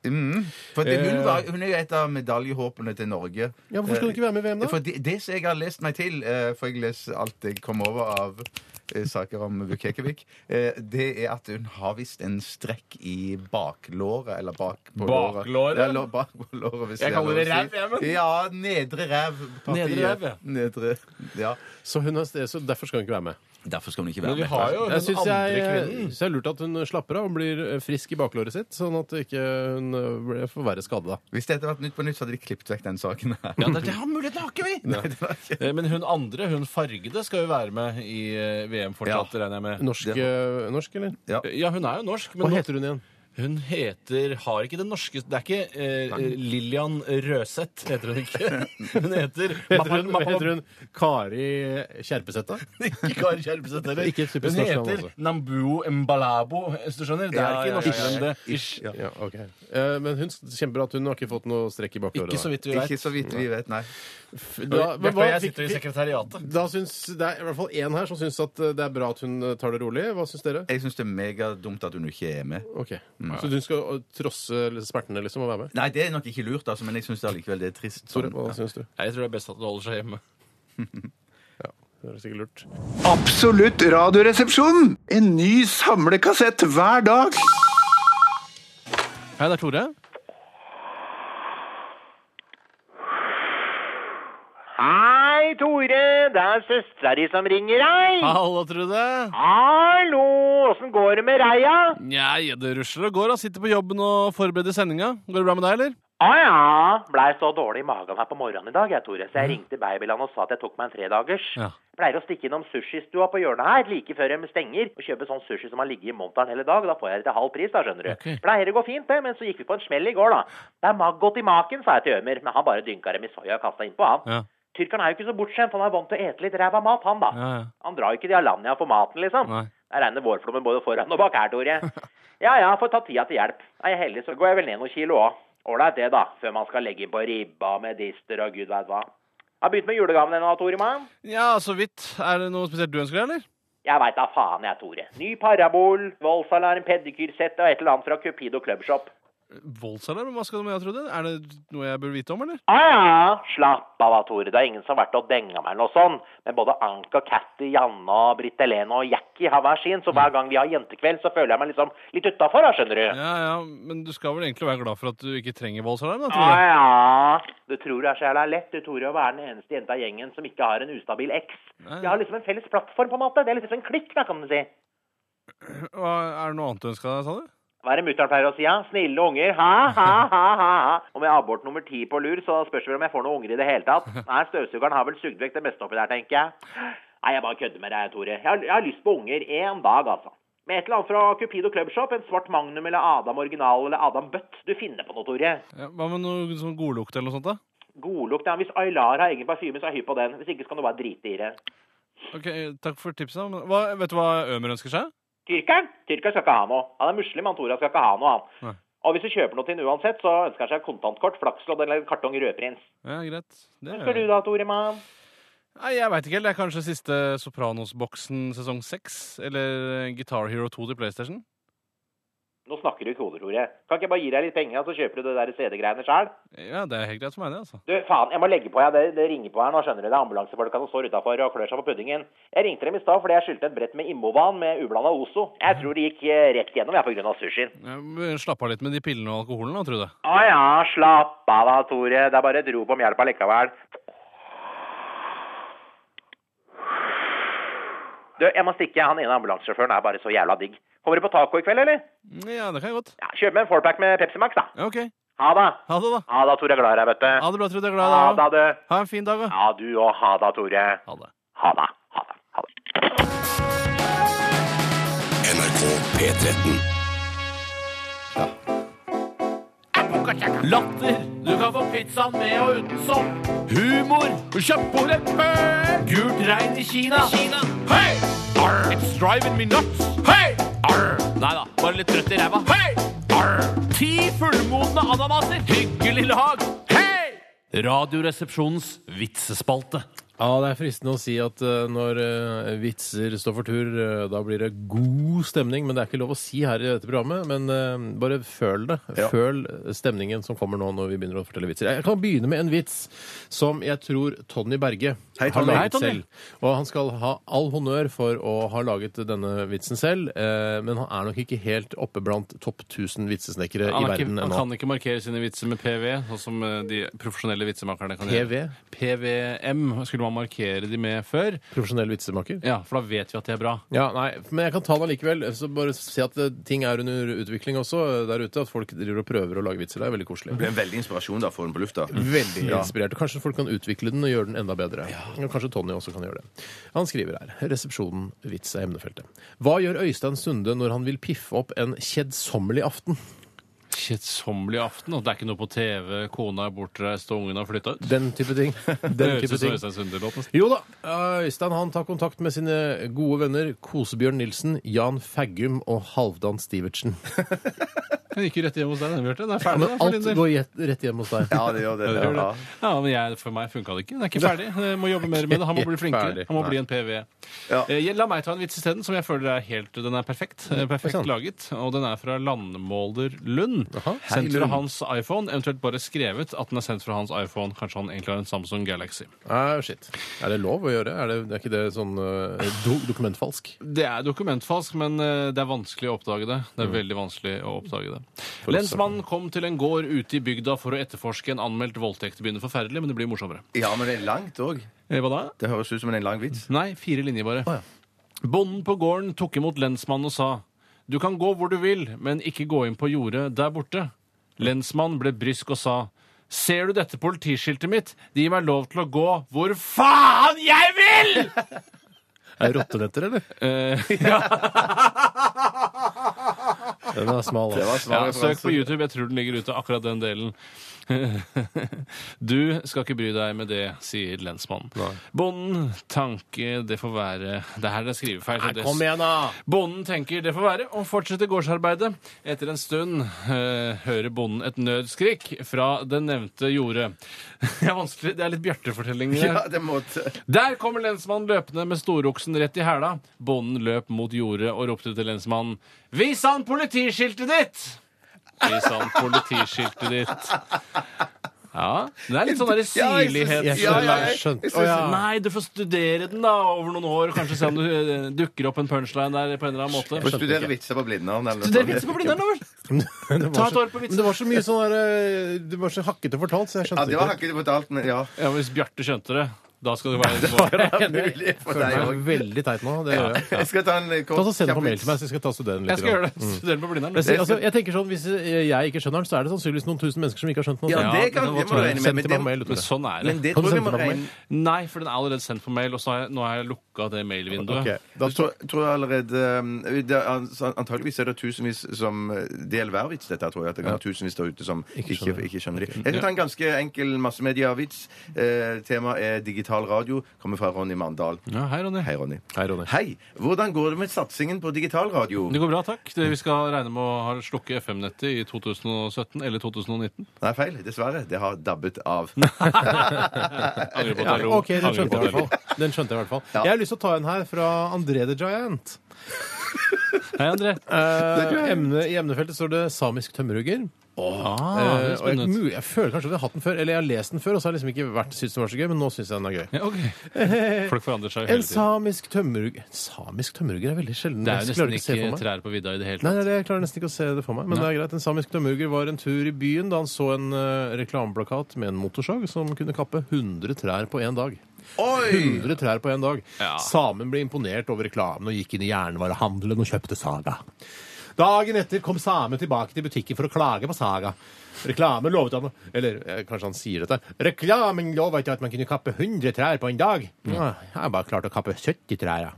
Speaker 9: For det, hun,
Speaker 7: Eh,
Speaker 9: var, hun er jo et av medaljehåpene til Norge.
Speaker 7: Ja, hvorfor skal hun ikke være med i VM da?
Speaker 9: For det, det som jeg har lest meg til, eh, for jeg leser alt jeg kom over av eh, saker om Vukekevic, eh, det er at hun har visst en strekk i baklåret, eller bak på låret.
Speaker 8: Baklåret?
Speaker 9: Ja, lå- bak på låret, hvis
Speaker 8: Jeg
Speaker 9: er lov
Speaker 8: kaller det
Speaker 9: å si.
Speaker 8: ræv, jeg, men-
Speaker 9: Ja, nedre ræv. partiet.
Speaker 8: Nedre ræv, ja.
Speaker 9: Nedre, ja.
Speaker 7: Så, hun har, så derfor skal hun ikke være med?
Speaker 9: Derfor skal hun ikke
Speaker 8: være Men vi med. har jo den
Speaker 7: jeg syns
Speaker 8: andre
Speaker 7: jeg,
Speaker 8: kvinnen.
Speaker 7: synes det er lurt at hun slapper av og blir eh, frisk i baklåret sitt, sånn at ikke hun eh, blir- får verre skade da.
Speaker 9: Hvis dette hadde vært Nytt på Nytt, så hadde de klippet vekk den saken her.
Speaker 8: Ja, det, det har muligheten har ikke *laughs* vi! Eh, Men hun andre, hun fargede, skal jo være med i eh, VM fortsatt, regner jeg med.
Speaker 7: Norsk, eh, norsk eller?
Speaker 9: Ja.
Speaker 8: hun er jo norsk.
Speaker 7: Hva
Speaker 8: nå-
Speaker 7: heter hun igjen?
Speaker 8: Hun heter Har ikke den norske Det er ikke eh, Lillian Røseth, heter hun
Speaker 7: *laughs*
Speaker 8: ikke. Hun heter
Speaker 7: Heter hun, heter hun Kari Kjerpeseth, da? *laughs*
Speaker 8: Ikke Kari Kjerpeseth heller.
Speaker 7: Ikke et
Speaker 8: Hun
Speaker 7: typisk norsk navn,
Speaker 8: heter
Speaker 7: altså.
Speaker 8: Nambuo Mbalabo, hvis du skjønner. Det
Speaker 7: Ja,
Speaker 8: er
Speaker 7: ja, ja,
Speaker 8: ikke
Speaker 7: ja,
Speaker 8: norsk,
Speaker 7: ja.
Speaker 8: men det er ish.
Speaker 7: Ja, ok. Eh, Men hun kjemper at hun har ikke fått noe strekk i baklåret.
Speaker 8: Ikke så vidt vi vet.
Speaker 9: Ikke så vidt vi vet, nei.
Speaker 7: Da, men
Speaker 8: Derfor
Speaker 7: hva
Speaker 8: jeg
Speaker 7: fikk
Speaker 8: sitter i
Speaker 7: vi-
Speaker 8: sekretariatet.
Speaker 7: Da syns, Det er i hvert fall én her som syns at eh, det er bra at hun eh, tar det rolig. Hva syns dere?
Speaker 9: Jeg syns det er megadumt at hun ikke er med.
Speaker 7: Ok,
Speaker 9: Mm.
Speaker 7: Så hun skal eh, trosse smertene liksom og være med?
Speaker 9: Nei, det er nok ikke lurt, altså, men jeg syns allikevel det er trist.
Speaker 7: Tore,
Speaker 9: sånn,
Speaker 7: hva syns du?
Speaker 8: Jeg tror det er best at du holder seg hjemme.
Speaker 7: Det er sikkert lurt.
Speaker 27: Absolutt radioresepsjon! En ny samlekassett hver dag.
Speaker 8: Hei, det er Tore.
Speaker 24: Hei, Tore. Det er søstera di som ringer deg.
Speaker 8: Hallo, Trude.
Speaker 24: Hallo. Åssen går det med reia?
Speaker 8: Nei, det rusler og går. da. Sitter på jobben og forbereder sendinga. Går det bra med deg, eller?
Speaker 24: Ah, ja. Blei så dårlig i magen her på morgenen i dag, jeg, Tore, så jeg ringte Babyland og sa at jeg tok meg en tredagers.
Speaker 8: Mm. Ja.
Speaker 24: Pleier å stikke innom sushistua på hjørnet her like før de stenger, og kjøpe sånn sushi som har ligget i monteren hele dag. Da får jeg det til halv pris, da, skjønner du.
Speaker 8: Ok.
Speaker 24: Pleier å gå fint, det, men så gikk vi på en smell i går, da. Det er maggot i maken, sa jeg til Ømer, men han bare dynka dem i soya og kasta innpå, han.
Speaker 8: Ja.
Speaker 24: Tyrkeren er jo ikke så bortskjemt, han er vant til å ete litt ræva mat, han, da.
Speaker 8: Ja, ja.
Speaker 24: Han drar jo ikke de Alanya for maten, liksom.
Speaker 8: Nei. *laughs*
Speaker 24: Det regner vårflommen både foran og bak her, Tore. Ja ja, får ta tida til hjelp. Er jeg heldig, så går jeg vel ned noen kilo òg. Ålreit det, da. Før man skal legge inn på ribba med dister og gud veit hva. Har begynt med julegaven ennå, Tore? mann?
Speaker 8: Ja, så vidt. Er det noe spesielt du ønsker deg, eller?
Speaker 24: Jeg veit da faen, jeg, Tore. Ny parabol, voldsalarm, pedikyrsett og et eller annet fra Cupido Clubshop.
Speaker 8: Voldsalarm? Hva skal du med jeg trodde? Er det noe jeg bør vite om, eller?
Speaker 24: Ah, Ja, ja, slapp av, Tore. Det er ingen som har vært og denga meg eller noe sånn. Men både Anka, Katty, Janne, og Britt Helene og Jackie har hver sin, så hver gang vi har jentekveld, så føler jeg meg liksom litt utafor, skjønner du.
Speaker 8: Ja, ja, men du skal vel egentlig være glad for at du ikke trenger voldsalarm, da,
Speaker 24: Ja,
Speaker 8: Tore?
Speaker 24: ja. Du tror det er så jævla lett, du, Tore, å være den eneste jenta i gjengen som ikke har en ustabil eks.
Speaker 8: Nei.
Speaker 24: De har liksom en felles plattform, på en måte. Det er liksom en klikk, da, kan du si.
Speaker 8: Hva, er det noe annet du ønsker deg, sa du?
Speaker 24: Hva er det mutter'n pleier å si, ja? Snille unger. Ha, ha, ha, ha, ha. Om jeg har abort nummer ti på lur, så spørs det vel om jeg får noen unger i det hele tatt. Nei, støvsugeren har vel sugd vekk det meste oppi der, tenker jeg. Nei, jeg bare kødder med deg, Tore. Jeg har, jeg har lyst på unger en dag, altså. Med et eller annet fra Cupido Clubshop, en svart Magnum eller Adam Original eller Adam Bøtt. Du finner på noe, Tore.
Speaker 8: Ja, hva med noe sånn godlukt eller noe sånt, da?
Speaker 24: Godlukt, ja. Hvis Aylar har egen parfyme, så er jeg hypp på den. Hvis ikke, så kan du bare drite i det.
Speaker 8: Ok, Takk for tipset. da. Men Hva, vet du hva Ømer ønsker seg?
Speaker 24: Tyrkeren? Tyrkeren skal ikke ha noe. Han er muslim, han Tore. Han skal ikke ha noe, han.
Speaker 8: Nei.
Speaker 24: Og hvis du kjøper noe til ham uansett, så ønsker han seg kontantkort, flakslodd eller en kartong rødprins.
Speaker 8: Ja, greit. Det
Speaker 24: Hva ønsker du da, Tore mann?
Speaker 8: Nei, Jeg veit ikke helt. Det er kanskje siste Sopranos-boksen sesong seks? Eller Guitar Hero 2 til PlayStation?
Speaker 24: Nå snakker du i koder, Tore. Kan ikke jeg bare gi deg litt penger, så kjøper du det der CD-greiene sjøl?
Speaker 8: Ja, det er helt greit for meg, det, altså.
Speaker 24: Du, faen, jeg må legge på, jeg. Det, det ringer på her nå, skjønner du. Det er ambulansefolka som står utafor og klør seg på puddingen. Jeg ringte dem i stad fordi jeg skyldte et brett med Immovan med ublanda Ozo. Jeg tror det gikk eh, rett gjennom, jeg, på grunn av sushien.
Speaker 8: Ja, men Slapp av litt med de pillene og alkoholen, da, Trude.
Speaker 24: Å ja, slapp av da, Tore. Det er bare et rop om hjelp allikevel. Du, jeg må stikke. Han ene ambulansesjåføren er bare så jævla digg. Kommer du på taco i kveld, eller?
Speaker 8: Ja, det kan jeg godt.
Speaker 24: Ja, Kjøp med en fourpack med Pepsi Max, da.
Speaker 8: Ja, ok.
Speaker 24: Ha det.
Speaker 8: Ha det, da.
Speaker 24: Ha det, Tore. Jeg er Glad i deg, vet du.
Speaker 8: Ha det bra, Trude. Jeg er
Speaker 24: Ha
Speaker 8: glad i deg.
Speaker 24: det, du.
Speaker 8: Ha en fin dag, da.
Speaker 24: Ja, du òg. Ha det, Tore.
Speaker 8: Ha det.
Speaker 24: Ha det.
Speaker 1: NRK P13.
Speaker 10: Latter. Du kan få pizzaen med og uten sopp. Humor. Kjøpt på leppet. Gult regn i Kina. Kina. Hei! Arr. It's driving me nuts. Hei! Arr. Nei da, bare litt trøtt i ræva. Hei! Arr. Ti fullmodne ananaser. Hyggelig lag. Hei!
Speaker 28: Radioresepsjonens vitsespalte.
Speaker 7: Ja, det er fristende å si at eh, når eh, vitser står for tur, eh, da blir det god stemning. Men det er ikke lov å si her i dette programmet. Men eh, bare føl det. Føl eh, stemningen som kommer nå når vi begynner å fortelle vitser. Jeg kan begynne med en vits som jeg tror Tonny Berge
Speaker 9: Hei,
Speaker 7: har
Speaker 9: Tonny.
Speaker 7: laget
Speaker 9: Hei, Tonny.
Speaker 7: selv. Og han skal ha all honnør for å ha laget denne vitsen selv, eh, men han er nok ikke helt oppe blant topp 1000 vitsesnekkere i
Speaker 8: Han, er ikke,
Speaker 7: verden
Speaker 8: han
Speaker 7: ennå.
Speaker 8: kan ikke markere sine vitser med PV, sånn som eh, de profesjonelle vitsemakerne kan
Speaker 7: PV?
Speaker 8: gjøre. PVM skulle man markere de med før.
Speaker 7: Profesjonell vitsemaker?
Speaker 8: Ja, for da vet vi at de er bra.
Speaker 7: Ja, nei, Men jeg kan ta den likevel. Så bare se at eh, ting er under utvikling også eh, der ute. At folk driver og prøver å lage vitser. Det er veldig koselig.
Speaker 9: Det ble en veldig inspirasjon da, å få den på lufta.
Speaker 7: Veldig
Speaker 9: Ja.
Speaker 7: inspirert. Og Kanskje folk kan utvikle den og gjøre den enda bedre. Og Kanskje Tonny også kan gjøre det. Han skriver her. Resepsjonen vits er emnefeltet. Hva gjør Øystein Sunde når han vil piffe opp en kjedsommelig aften?
Speaker 8: Kjedsommelig aften, og det er ikke noe på TV, kona er bortreist og ungen har flytta ut.
Speaker 7: Den type
Speaker 8: *laughs*
Speaker 7: ting.
Speaker 8: det
Speaker 7: Den type
Speaker 8: høres ut som
Speaker 7: ting.
Speaker 8: Øystein Sunde-låten.
Speaker 7: Jo da, Øystein han tar kontakt med sine gode venner Kosebjørn Nilsen, Jan Faggum og Halvdan
Speaker 8: *laughs*
Speaker 7: Stivertsen.
Speaker 8: Den gikk jo rett hjem hos deg, den, Bjarte. Den er
Speaker 7: Ja,
Speaker 8: ferdig.
Speaker 7: men
Speaker 8: da, for din
Speaker 7: alt
Speaker 8: del.
Speaker 7: går jet- rett hjem hos deg.
Speaker 9: Ja, det gjør det.
Speaker 8: Ja, det gjør
Speaker 9: Ja.
Speaker 8: det. Ja, men jeg, for meg funka det ikke. Den er ikke ferdig. Jeg må jobbe mer med det. Han må bli flinkere. Han må bli en PV. Eh, La meg ta en vits isteden, som jeg føler er helt Den er perfekt. eh, Perfekt laget. Og den er fra Landmåler Lund. Sendt
Speaker 7: Hei,
Speaker 8: fra
Speaker 7: Lund.
Speaker 8: hans iPhone. Eventuelt bare skrevet at den er sendt fra hans iPhone. Kanskje han egentlig har en Samsung Galaxy.
Speaker 7: Ah, shit. Er det lov å gjøre? Er, det, er ikke det sånn eh, do dokumentfalsk?
Speaker 8: Det er dokumentfalsk, men eh, det er vanskelig å oppdage det. Det er veldig vanskelig å oppdage det. Lensmannen kom til en gård ute i bygda for å etterforske en anmeldt voldtekt. Det begynner forferdelig, men det blir morsommere.
Speaker 9: Ja, men det er langt òg.
Speaker 8: Eh, Hva da?
Speaker 9: Det høres ut som en lang vits.
Speaker 8: Nei, fire linjer bare. Bonden på gården tok imot lensmannen og sa Du kan gå hvor du vil, men ikke gå inn på jordet der borte. Lensmannen ble brysk og sa Ser du dette politiskiltet mitt? Det gir meg lov til å gå hvor faen jeg vil!
Speaker 7: Er det rottenetter, eller? *laughs*
Speaker 8: ja.
Speaker 7: Den er smal. altså.
Speaker 8: Ja, søk på YouTube. Jeg tror den ligger ute, akkurat den delen. *laughs* Du skal ikke bry deg med det, sier lensmannen. Bonden tanke, det får være Det her er skrivefeil. så
Speaker 29: Nei,
Speaker 8: det-
Speaker 29: kom igjen da!
Speaker 8: Bonden tenker det får være, og fortsetter gårdsarbeidet. Etter en stund eh, hører bonden et nødskrik fra det nevnte jordet. *laughs* Det er vanskelig, det er litt bjørtefortelling. det.
Speaker 9: Ja, det måtte
Speaker 8: Der kommer lensmannen løpende med storoksen rett i hæla. Bonden løp mot jordet og ropte til lensmannen Vis han politiskiltet ditt! Vis han politiskiltet ditt. Ja, Det er litt sånn der
Speaker 29: Ja, jeg synes-
Speaker 8: sirlighet
Speaker 29: jeg skjønner, jeg skjønte. Å, ja.
Speaker 8: Nei, du får studere den da over noen år. Kanskje se om det eh, dukker opp en punchline der på en eller annen måte.
Speaker 9: Få studere vitser på Blindern. eller noe
Speaker 8: Studere
Speaker 9: sånt.
Speaker 8: vitser på Blindern, da vel!
Speaker 29: *laughs*
Speaker 7: Det var
Speaker 8: Ta et
Speaker 7: så-
Speaker 8: år på
Speaker 7: Men
Speaker 8: vitsen.
Speaker 7: Det var så mye sånn der, eh, Det var så hakkete fortalt, så jeg skjønte
Speaker 9: hakket fortalt, men ja.
Speaker 8: ja hvis Bjarte skjønte det, da skal det
Speaker 10: *laughs*
Speaker 8: være
Speaker 7: Jeg føler meg veldig teit nå. Det gjør jeg.
Speaker 8: Ja. Jeg skal ta en kort-
Speaker 7: Ta så Send på
Speaker 8: kjapp
Speaker 7: mail
Speaker 8: vits.
Speaker 7: til meg, så jeg skal ta studere den litt.
Speaker 8: Jeg skal
Speaker 7: grann.
Speaker 8: gjøre det.
Speaker 7: Mm.
Speaker 8: Studere på Blindern.
Speaker 7: Jeg sier, altså, jeg tenker sånn, Hvis eh, jeg ikke skjønner den, så er det sannsynligvis noen tusen mennesker som ikke har skjønt den.
Speaker 8: Ja,
Speaker 7: også.
Speaker 8: det kan
Speaker 7: hva
Speaker 8: vi må
Speaker 7: tror du?
Speaker 8: regne med,
Speaker 7: Send
Speaker 8: men
Speaker 7: til
Speaker 8: det-
Speaker 7: meg på mail, vet du
Speaker 8: men sånn er det.
Speaker 7: Kan du sende den på mail?
Speaker 8: Nei, for den er allerede sendt på mail, og så har jeg, nå har jeg lukka det mailvinduet.
Speaker 9: Da tror, tror jeg allerede um, det er, an- Antageligvis er det tusenvis som eh, Det er hver vits, dette her, tror jeg. At det kan være tusenvis der ute som ikke skjønner, ikke skjønner det. Jeg skal ta en ganske enkel massemediavits. Eh, Temaet er digital radio. Kommer fra Ronny Mandal.
Speaker 8: hei, Ronny.
Speaker 9: Hei, Ronny.
Speaker 7: Hei, Ronny.
Speaker 9: Hvordan går det med satsingen på digital radio?
Speaker 8: Det går bra, takk. Det, vi skal regne med å ha slukke FM-nettet i 2017 eller 2019.
Speaker 9: Nei, feil. Dessverre. Det har dabbet av.
Speaker 8: Angrer på at jeg lo.
Speaker 7: Ok, den
Speaker 8: Angrer
Speaker 7: skjønte
Speaker 8: på
Speaker 7: jeg i
Speaker 8: at jeg lo.
Speaker 7: hvert fall. Den skjønte jeg i hvert fall. Jeg har lyst til å ta en her fra André the Giant.
Speaker 8: Hei, André.
Speaker 7: Eh, emne, I emnefeltet står det samisk tømmerhugger.
Speaker 8: Ah,
Speaker 7: Eh,
Speaker 8: det er
Speaker 7: og jeg,
Speaker 8: spennende.
Speaker 7: mu- jeg føler kanskje at jeg har hatt den før, eller jeg har lest den før, og så har jeg liksom ikke vært, syntes den var så gøy, men nå syns jeg den er gøy.
Speaker 8: Ja, ok.
Speaker 7: *laughs*
Speaker 8: Folk forandrer seg jo
Speaker 7: En
Speaker 8: hele tiden.
Speaker 7: samisk tømmerhugger Samisk tømmerhugger er veldig sjelden.
Speaker 8: Det er
Speaker 7: Jeg
Speaker 8: jo
Speaker 7: klarer
Speaker 8: nesten
Speaker 7: å se for
Speaker 8: ikke
Speaker 7: meg.
Speaker 8: trær på vidda i det
Speaker 7: Nei,
Speaker 8: hele tatt.
Speaker 7: nei, det- jeg klarer nesten ikke å se det for meg. Men det er greit. En samisk tømmerhugger var en tur i byen da han så en eh, reklameplakat med en motorsag som kunne kappe 100 trær på én dag. 100 trær på én dag. Samen ble imponert over reklamen og gikk inn i jernvarehandelen og kjøpte saga. Dagen etter kom samen tilbake til butikken for å klage på saga. Reklamen lovet han Eller eh, kanskje han sier dette. Reklamen lovet at man kunne kappe 100 trær på en dag.
Speaker 8: Mm.
Speaker 7: Ja, jeg har bare klart å kappe 70 trær, ja.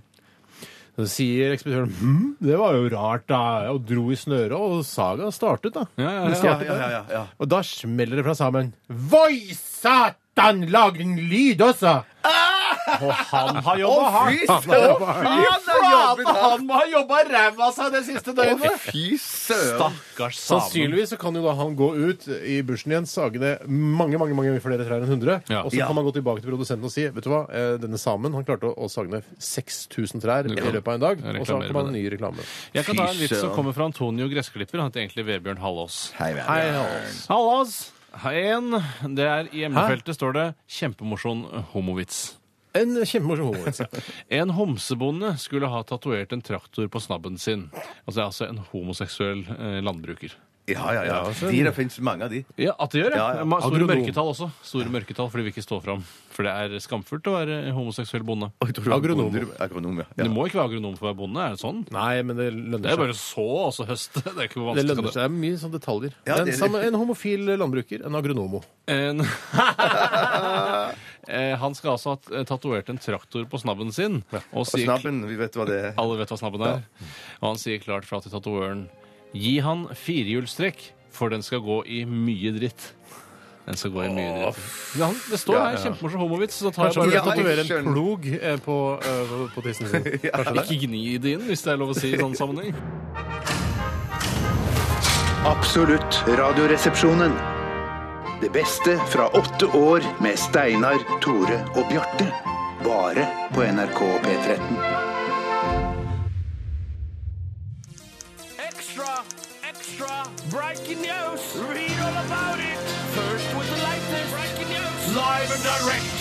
Speaker 7: Så sier ekspeditøren hm, det var jo rart, da. Og dro i snøret, og saga startet, da.
Speaker 8: ja,
Speaker 7: Den startet
Speaker 8: ja, ja,
Speaker 7: der.
Speaker 8: ja, ja.
Speaker 7: Og da smeller det fra sammen. Voi satan, lag en lyd også! Og han har jobba
Speaker 5: Å, fy
Speaker 7: hardt. Han har
Speaker 5: søren.
Speaker 7: jobba hardt.
Speaker 5: Fy faen,
Speaker 7: Han har jobbet hardt. Han må ha jobba ræva av seg det siste døgnet!
Speaker 9: Fy
Speaker 8: Stakkars samen.
Speaker 7: Sannsynligvis så kan jo da han gå ut i bushen igjen, sage ned mange mange, mange flere trær enn 100,
Speaker 8: Ja.
Speaker 7: og så
Speaker 8: Ja.
Speaker 7: kan man gå tilbake til produsenten og si vet du hva, eh, denne samen han klarte å, å sage ned 6000 trær i
Speaker 8: Du kan
Speaker 7: løpet av en dag, og så
Speaker 8: reklamere
Speaker 7: kommer han
Speaker 8: med
Speaker 7: en ny
Speaker 8: det.
Speaker 7: reklame.
Speaker 8: Jeg kan ta en
Speaker 7: Fy
Speaker 8: vits som
Speaker 7: søren.
Speaker 8: kommer fra Antonio Gressklipper. Han heter egentlig Vebjørn Hallås.
Speaker 9: Hei,
Speaker 7: Vebjørn. Hei, Hallås.
Speaker 8: Hallås. En, det er I emnefeltet står det 'kjempemorsom homovits'.
Speaker 7: En kjempemorsom homovits.
Speaker 8: *laughs* en homsebonde skulle ha tatovert en traktor på snabben sin. Altså, altså en homoseksuell eh, landbruker.
Speaker 9: Ja, ja, ja.
Speaker 8: så-
Speaker 9: De, det fins mange av de.
Speaker 8: Ja, at det gjør, ja.
Speaker 9: Ja, ja.
Speaker 8: Ma- Store
Speaker 9: Agronom.
Speaker 8: mørketall også. Store mørketall fordi vi ikke står fram. For det er skamfullt å være homoseksuell bonde.
Speaker 9: Agronom. Agronom, ja. ja.
Speaker 8: Du må ikke være agronom for å være bonde, er det sånn?
Speaker 7: Nei, men det lønner
Speaker 8: Det er
Speaker 7: seg.
Speaker 8: bare å så og så høste. *laughs* Det er ikke hvor
Speaker 7: Det
Speaker 8: vanskelig
Speaker 7: lønner seg. Det er mye sånne detaljer.
Speaker 8: Ja,
Speaker 7: en,
Speaker 8: det-
Speaker 7: samme, en homofil landbruker, en agronomo.
Speaker 8: En... *laughs* Eh, Han skal altså ha t- tatovert en traktor på snabben sin. Og,
Speaker 9: snabben, vi vet hva det er.
Speaker 8: Alle vet hva snabben er. Og han sier klart fra til tatovøren Gi han firehjulstrekk, for den skal gå i mye dritt. Den skal gå i mye dritt. Ja, han- det står
Speaker 7: Ja,
Speaker 8: her.
Speaker 7: ja.
Speaker 8: Kjempemorsom homovits. Så tar jeg
Speaker 7: Kanskje han
Speaker 8: bare
Speaker 7: burde
Speaker 8: og
Speaker 7: tatovere en
Speaker 8: tatoverer en
Speaker 7: plog eh, på, eh, på- på tissen sin. Kanskje
Speaker 8: plo-
Speaker 7: det?
Speaker 8: Ikke gni det inn, hvis det er lov å si i sånn sammenheng.
Speaker 7: *laughs*
Speaker 30: Absolutt Radioresepsjonen. Det beste fra åtte år med Steinar, Tore og Bjarte. Bare på NRK P13.
Speaker 5: Extra, extra, breaking news. Read all about it. First with the latest. Breaking news. Live and direct.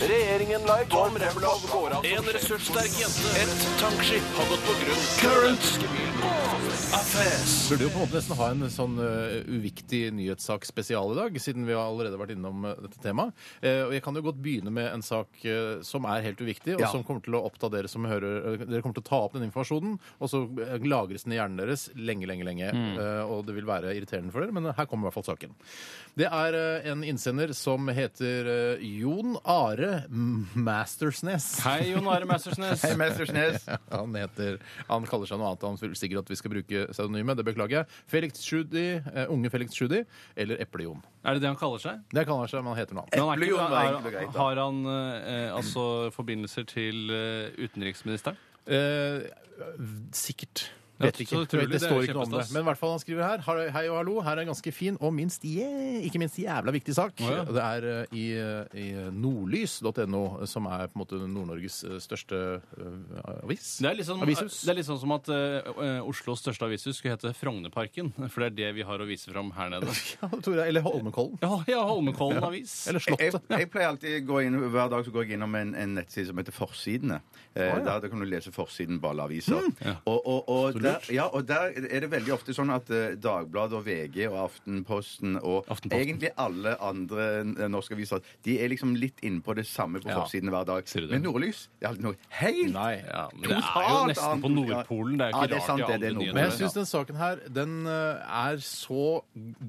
Speaker 5: Regjeringen live En ressurssterk jente. Et tankskip har gått på grunn. Current.
Speaker 7: Burde jo på en måte nesten ha en sånn eh, uviktig nyhetssak spesial i dag, siden vi har allerede vært innom eh, dette temaet. Eh, og jeg kan jo godt begynne med en sak eh, som er helt uviktig, og
Speaker 29: Ja.
Speaker 7: som kommer til å oppta dere som hører eh, Dere kommer til å ta opp den informasjonen, og så eh, lagres den i hjernen deres lenge, lenge, lenge.
Speaker 29: Mm.
Speaker 7: Eh, og det vil være irriterende for dere, men her kommer i hvert fall saken. Det er eh, en innsender som heter eh, Jon Are M-
Speaker 31: Mastersnes.
Speaker 8: Hei, Jon Are Mastersnes.
Speaker 7: Hei, Mastersnes. Han heter Han kaller seg noe annet. Han vil sikkert at vi skal bruke pseudonymet. Det beklager jeg. Felix Tschudi, eh, unge Felix Tschudi, eller Eple-Jon.
Speaker 8: *laughs* Er det det han kaller seg?
Speaker 7: Det kaller han seg, men han heter noe annet.
Speaker 8: Men han er ikke-
Speaker 7: Eple-Jon var egentlig
Speaker 8: har,
Speaker 7: greit, da.
Speaker 8: har han eh, altså forbindelser til eh, utenriksministeren?
Speaker 7: Eh, sikkert.
Speaker 8: Ja,
Speaker 7: Vet ikke.
Speaker 8: så
Speaker 7: Det,
Speaker 8: utrolig,
Speaker 7: det
Speaker 8: det er
Speaker 7: står ikke noe om det.
Speaker 8: kjempestas.
Speaker 7: Men i hvert fall han skriver her. Hei hei og hallo, her er en ganske fin og minst je, ikke minst jævla viktig sak.
Speaker 8: Å, ja.
Speaker 7: Og Det er eh, i, eh, i nordlys.no, som er på en måte Nord-Norges eh, største eh, avis.
Speaker 8: Det er,
Speaker 7: *laughs*
Speaker 8: litt sånn,
Speaker 7: Avishus.
Speaker 8: det er litt sånn som at eh, Oslos største avishus skulle hete Frognerparken. For det er det vi har å vise fram her nede.
Speaker 7: Tore, eller Holmenkollen.
Speaker 8: *laughs* Ja, ja Holmenkollen avis. E-
Speaker 9: Jeg, jeg, jeg pleier alltid gå inn, Hver dag så går jeg innom en, en nettside som heter Forsidene.
Speaker 8: Å, ja.
Speaker 9: Eh,
Speaker 8: Mm.
Speaker 9: Der, der kan du lese forsiden på alle aviser. Og, og, og, der, ja, og der er det veldig ofte sånn at eh, Dagbladet og VG og Aftenposten og egentlig alle andre eh, norske aviser de er liksom litt innpå det samme på
Speaker 8: Ja.
Speaker 9: forsidene hver dag.
Speaker 8: du det?
Speaker 9: Men Nordlys det er alltid noe helt
Speaker 8: Ja, men det er jo
Speaker 9: totalt
Speaker 8: nesten på
Speaker 9: annet.
Speaker 8: Nordpolen. Det er jo
Speaker 9: Ja,
Speaker 8: ikke
Speaker 9: det er sant,
Speaker 8: rart. i
Speaker 9: det er
Speaker 8: alle
Speaker 9: Nordpolen.
Speaker 8: nyheter.
Speaker 7: Men jeg syns den saken her den eh, er så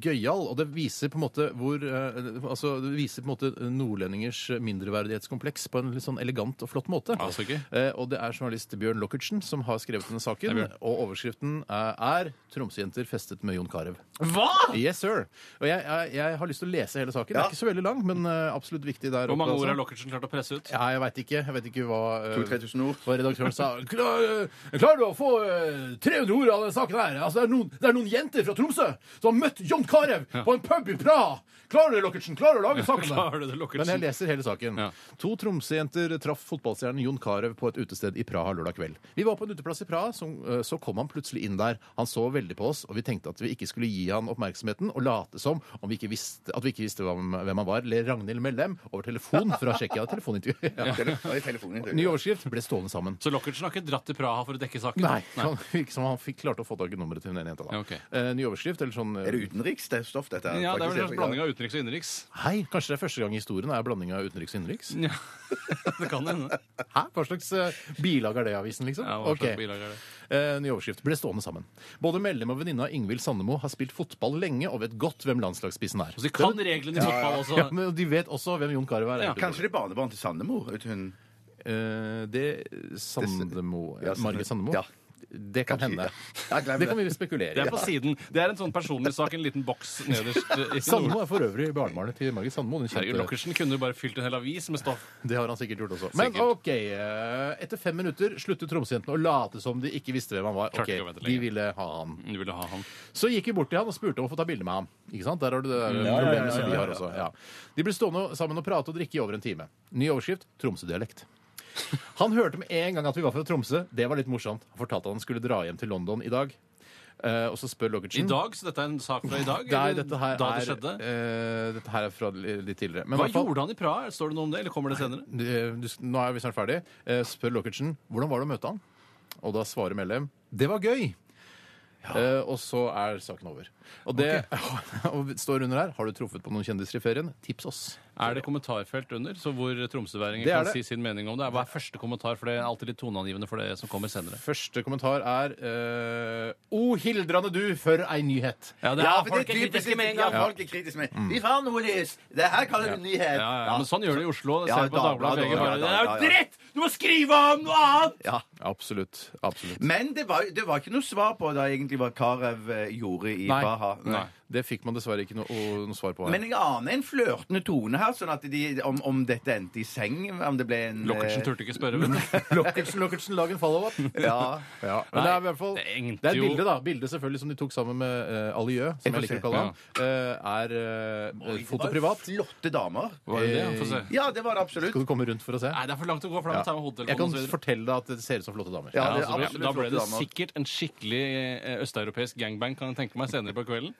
Speaker 7: gøyal, og det viser på en måte hvor eh, Altså, det viser på en måte nordlendingers mindreverdighetskompleks på en litt sånn elegant og flott måte.
Speaker 8: Ja, så gøy.
Speaker 7: Eh, og det er journalist Bjørn Lockertsen som har skrevet denne saken,
Speaker 8: Hei, Bjørn.
Speaker 7: og overskriften eh, er 'Tromsøjenter festet med Jon Carew'.
Speaker 8: Hva?!
Speaker 7: Yes, sir. Og jeg, jeg, jeg har lyst til å lese hele saken. Det er ikke så veldig lang, men eh, absolutt viktig der
Speaker 8: Hvor mange
Speaker 7: altså.
Speaker 8: ord har Lockertsen klart å presse ut?
Speaker 7: Ja, jeg veit ikke. Jeg vet ikke hva, eh,
Speaker 9: 2000-3000 ord.
Speaker 7: hva redaktøren sa. Klar, eh, klarer du å få eh, 300 ord av den saken her? Altså, det, er noen, det er noen jenter fra Tromsø som har møtt John Carew på en pub i Praha! Klarer du det, Lockertsen? Klarer du å
Speaker 8: *laughs*
Speaker 7: lage sak om
Speaker 8: Klarer
Speaker 7: det?
Speaker 8: du det, Lockertsen?
Speaker 7: Men jeg leser hele saken. To Tromsø-jenter traff fotballstjernen Jon Carew på et utested i Praha lørdag kveld. Vi var på en uteplass i Praha, så, eh, så kom han plutselig inn der. Han så veldig på oss, og vi tenkte at vi ikke skulle gi han oppmerksomheten og late som om vi ikke visste, at vi ikke visste hvem, hvem han var, ler Ragnhild Mellem over telefon fra Tsjekkia. Telefonintervju. *laughs* Ja.
Speaker 8: *laughs*
Speaker 7: Ny overskrift ble stående sammen.
Speaker 8: Så Lockertsen har ikke dratt til Praha for å dekke saken?
Speaker 7: Nei, han *laughs* virker som han fikk klarte å få tak i nummeret til den ene jenta. da. Eh, ny overskrift, eller sånn
Speaker 9: Er det utenriks? Det er stoff, dette her.
Speaker 8: Ja, det er vel en slags
Speaker 9: Faktisk,
Speaker 8: blanding av utenriks og innenriks.
Speaker 7: Hei, kanskje det er første gang i historien er blanding av utenriks og innenriks?
Speaker 8: Ja, *laughs* det kan hende.
Speaker 7: Hæ? Hva slags eh, bilag er det i avisen, liksom?
Speaker 8: Ja, hva slags
Speaker 7: Ok.
Speaker 8: bilag er det?
Speaker 7: Eh, ny overskrift. Ble stående sammen. Både medlem og venninna Ingvild Sandemo har spilt fotball lenge og vet godt hvem landslagsspissen er.
Speaker 8: Så de kan reglene i fotball også.
Speaker 7: Ja, men de vet også hvem Jon Carew er.
Speaker 9: Ja, kanskje det er barnebarn til Sandemo? vet hun.
Speaker 7: Eh, det Sandemo
Speaker 9: Ja, Sandemo.
Speaker 7: Margit Sandemo?
Speaker 9: Ja.
Speaker 7: Det kan hende.
Speaker 9: glem
Speaker 7: det kan
Speaker 9: det.
Speaker 7: vi spekulere i.
Speaker 8: Det er på siden. Det er en sånn personlig sak, en liten boks nederst. eh, i
Speaker 7: Sandemo
Speaker 8: nord.
Speaker 7: er for øvrig barnebarnet til Margit Sandemo. Den *laughs*
Speaker 8: Herregud,
Speaker 7: kjente
Speaker 8: Lockertsen kunne jo bare fylt en hel avis med stoff.
Speaker 7: Det har han sikkert gjort også. Men
Speaker 8: Sikkert.
Speaker 7: OK. eh, Etter fem minutter sluttet Tromsøjentene å late som de ikke visste hvem han var.
Speaker 8: Klarte
Speaker 7: Ok,
Speaker 8: ikke å vente
Speaker 7: De
Speaker 8: lenger.
Speaker 7: ville ha han.
Speaker 8: Du Mm, ville ha han.
Speaker 7: Så gikk vi bort til han og spurte om å få ta bilde med ham. Ikke sant? Der har du det der
Speaker 8: Mm. Ja, ja, ja,
Speaker 7: problemet
Speaker 8: ja,
Speaker 7: som vi
Speaker 8: ja,
Speaker 7: har
Speaker 8: ja.
Speaker 7: også. Ja. De ble stående sammen og prate og drikke i over en time. Ny overskrift Tromsø-dialekt. Han hørte med en gang at vi var fra Tromsø. Det var litt morsomt. Han fortalte at han skulle dra hjem til London i dag. Eh, og så spør
Speaker 8: I
Speaker 7: Lockertsen
Speaker 8: dag, så dette er en sak fra i dag?
Speaker 7: Nei,
Speaker 8: eller
Speaker 7: dette her,
Speaker 8: da det
Speaker 7: er,
Speaker 8: skjedde?
Speaker 7: eh, dette her er fra litt tidligere. Men i
Speaker 8: Hva
Speaker 7: hvert fall-
Speaker 8: gjorde han i Praha? Står det noe om det, eller kommer det senere?
Speaker 7: du, Eh, du, nå er vi snart ferdig. Eh, Spør Lockertsen hvordan var det å møte han? Og da svarer Mellem det var gøy. Eh, og så er saken over. Og det *laughs* og det står under her. Har du truffet på noen kjendiser i ferien? Tips oss.
Speaker 8: Er det kommentarfelt under, så hvor tromsøværinger
Speaker 7: Det er
Speaker 8: kan
Speaker 7: det.
Speaker 8: si sin mening om det? Hva er første kommentar, for det er alltid litt toneangivende for det som kommer senere.
Speaker 7: Første kommentar er eh, O hildrande du, for ei nyhet.
Speaker 8: Ja, det er-
Speaker 9: Ja, for det er typisk med en gang folk er kritiske med Vi får noe lys! Det her kaller du nyhet!
Speaker 8: Mm. Ja, ja, ja, men sånn gjør det i Oslo. Det
Speaker 9: Ja,
Speaker 8: ser du på Dagbladet.
Speaker 9: Dagbladet,
Speaker 8: VG bare,
Speaker 9: ja,
Speaker 8: Det
Speaker 9: ja,
Speaker 8: er
Speaker 9: ja.
Speaker 8: jo dritt! Du må skrive om noe annet!
Speaker 9: Ja.
Speaker 7: Absolutt. Absolutt.
Speaker 9: Men det var, det var ikke noe svar på da egentlig hva Karev eh, gjorde i
Speaker 7: Nei.
Speaker 9: Praha.
Speaker 7: Nei. Det fikk man dessverre ikke noe, å- noe svar på. her.
Speaker 9: Men jeg aner en flørtende tone her, sånn at de, om, om dette endte i seng om det ble en,
Speaker 8: Lockertsen turte ikke spørre. vel?
Speaker 7: Lockertsen, Lockertsen, lag en follow-up.
Speaker 9: eh, Ja.
Speaker 7: *laughs* Ja, Men det er i hvert fall
Speaker 8: Nei, det
Speaker 7: Det
Speaker 8: engte
Speaker 7: er et
Speaker 8: jo-
Speaker 7: bilde, da. Bilde selvfølgelig som de tok sammen med uh, Aliø,
Speaker 9: Jeg
Speaker 7: som
Speaker 9: får
Speaker 7: jeg liker
Speaker 9: se.
Speaker 7: å kalle ham. Er eh, fotoprivat.
Speaker 9: Flotte damer.
Speaker 7: Var det det? Få se.
Speaker 9: Ja, det var det absolutt.
Speaker 7: Skal du komme rundt for å se?
Speaker 8: Nei, det er for langt å gå, for da må
Speaker 7: Ja.
Speaker 8: jeg ta med hodetelefonen
Speaker 7: Jeg kan
Speaker 8: og så videre.
Speaker 7: fortelle deg at det ser ut som flotte damer.
Speaker 8: Ja, altså, da- da ble det
Speaker 7: sikkert
Speaker 8: sikkert en skikkelig eh, østeuropeisk gangbang, kan jeg tenke meg, senere på kvelden.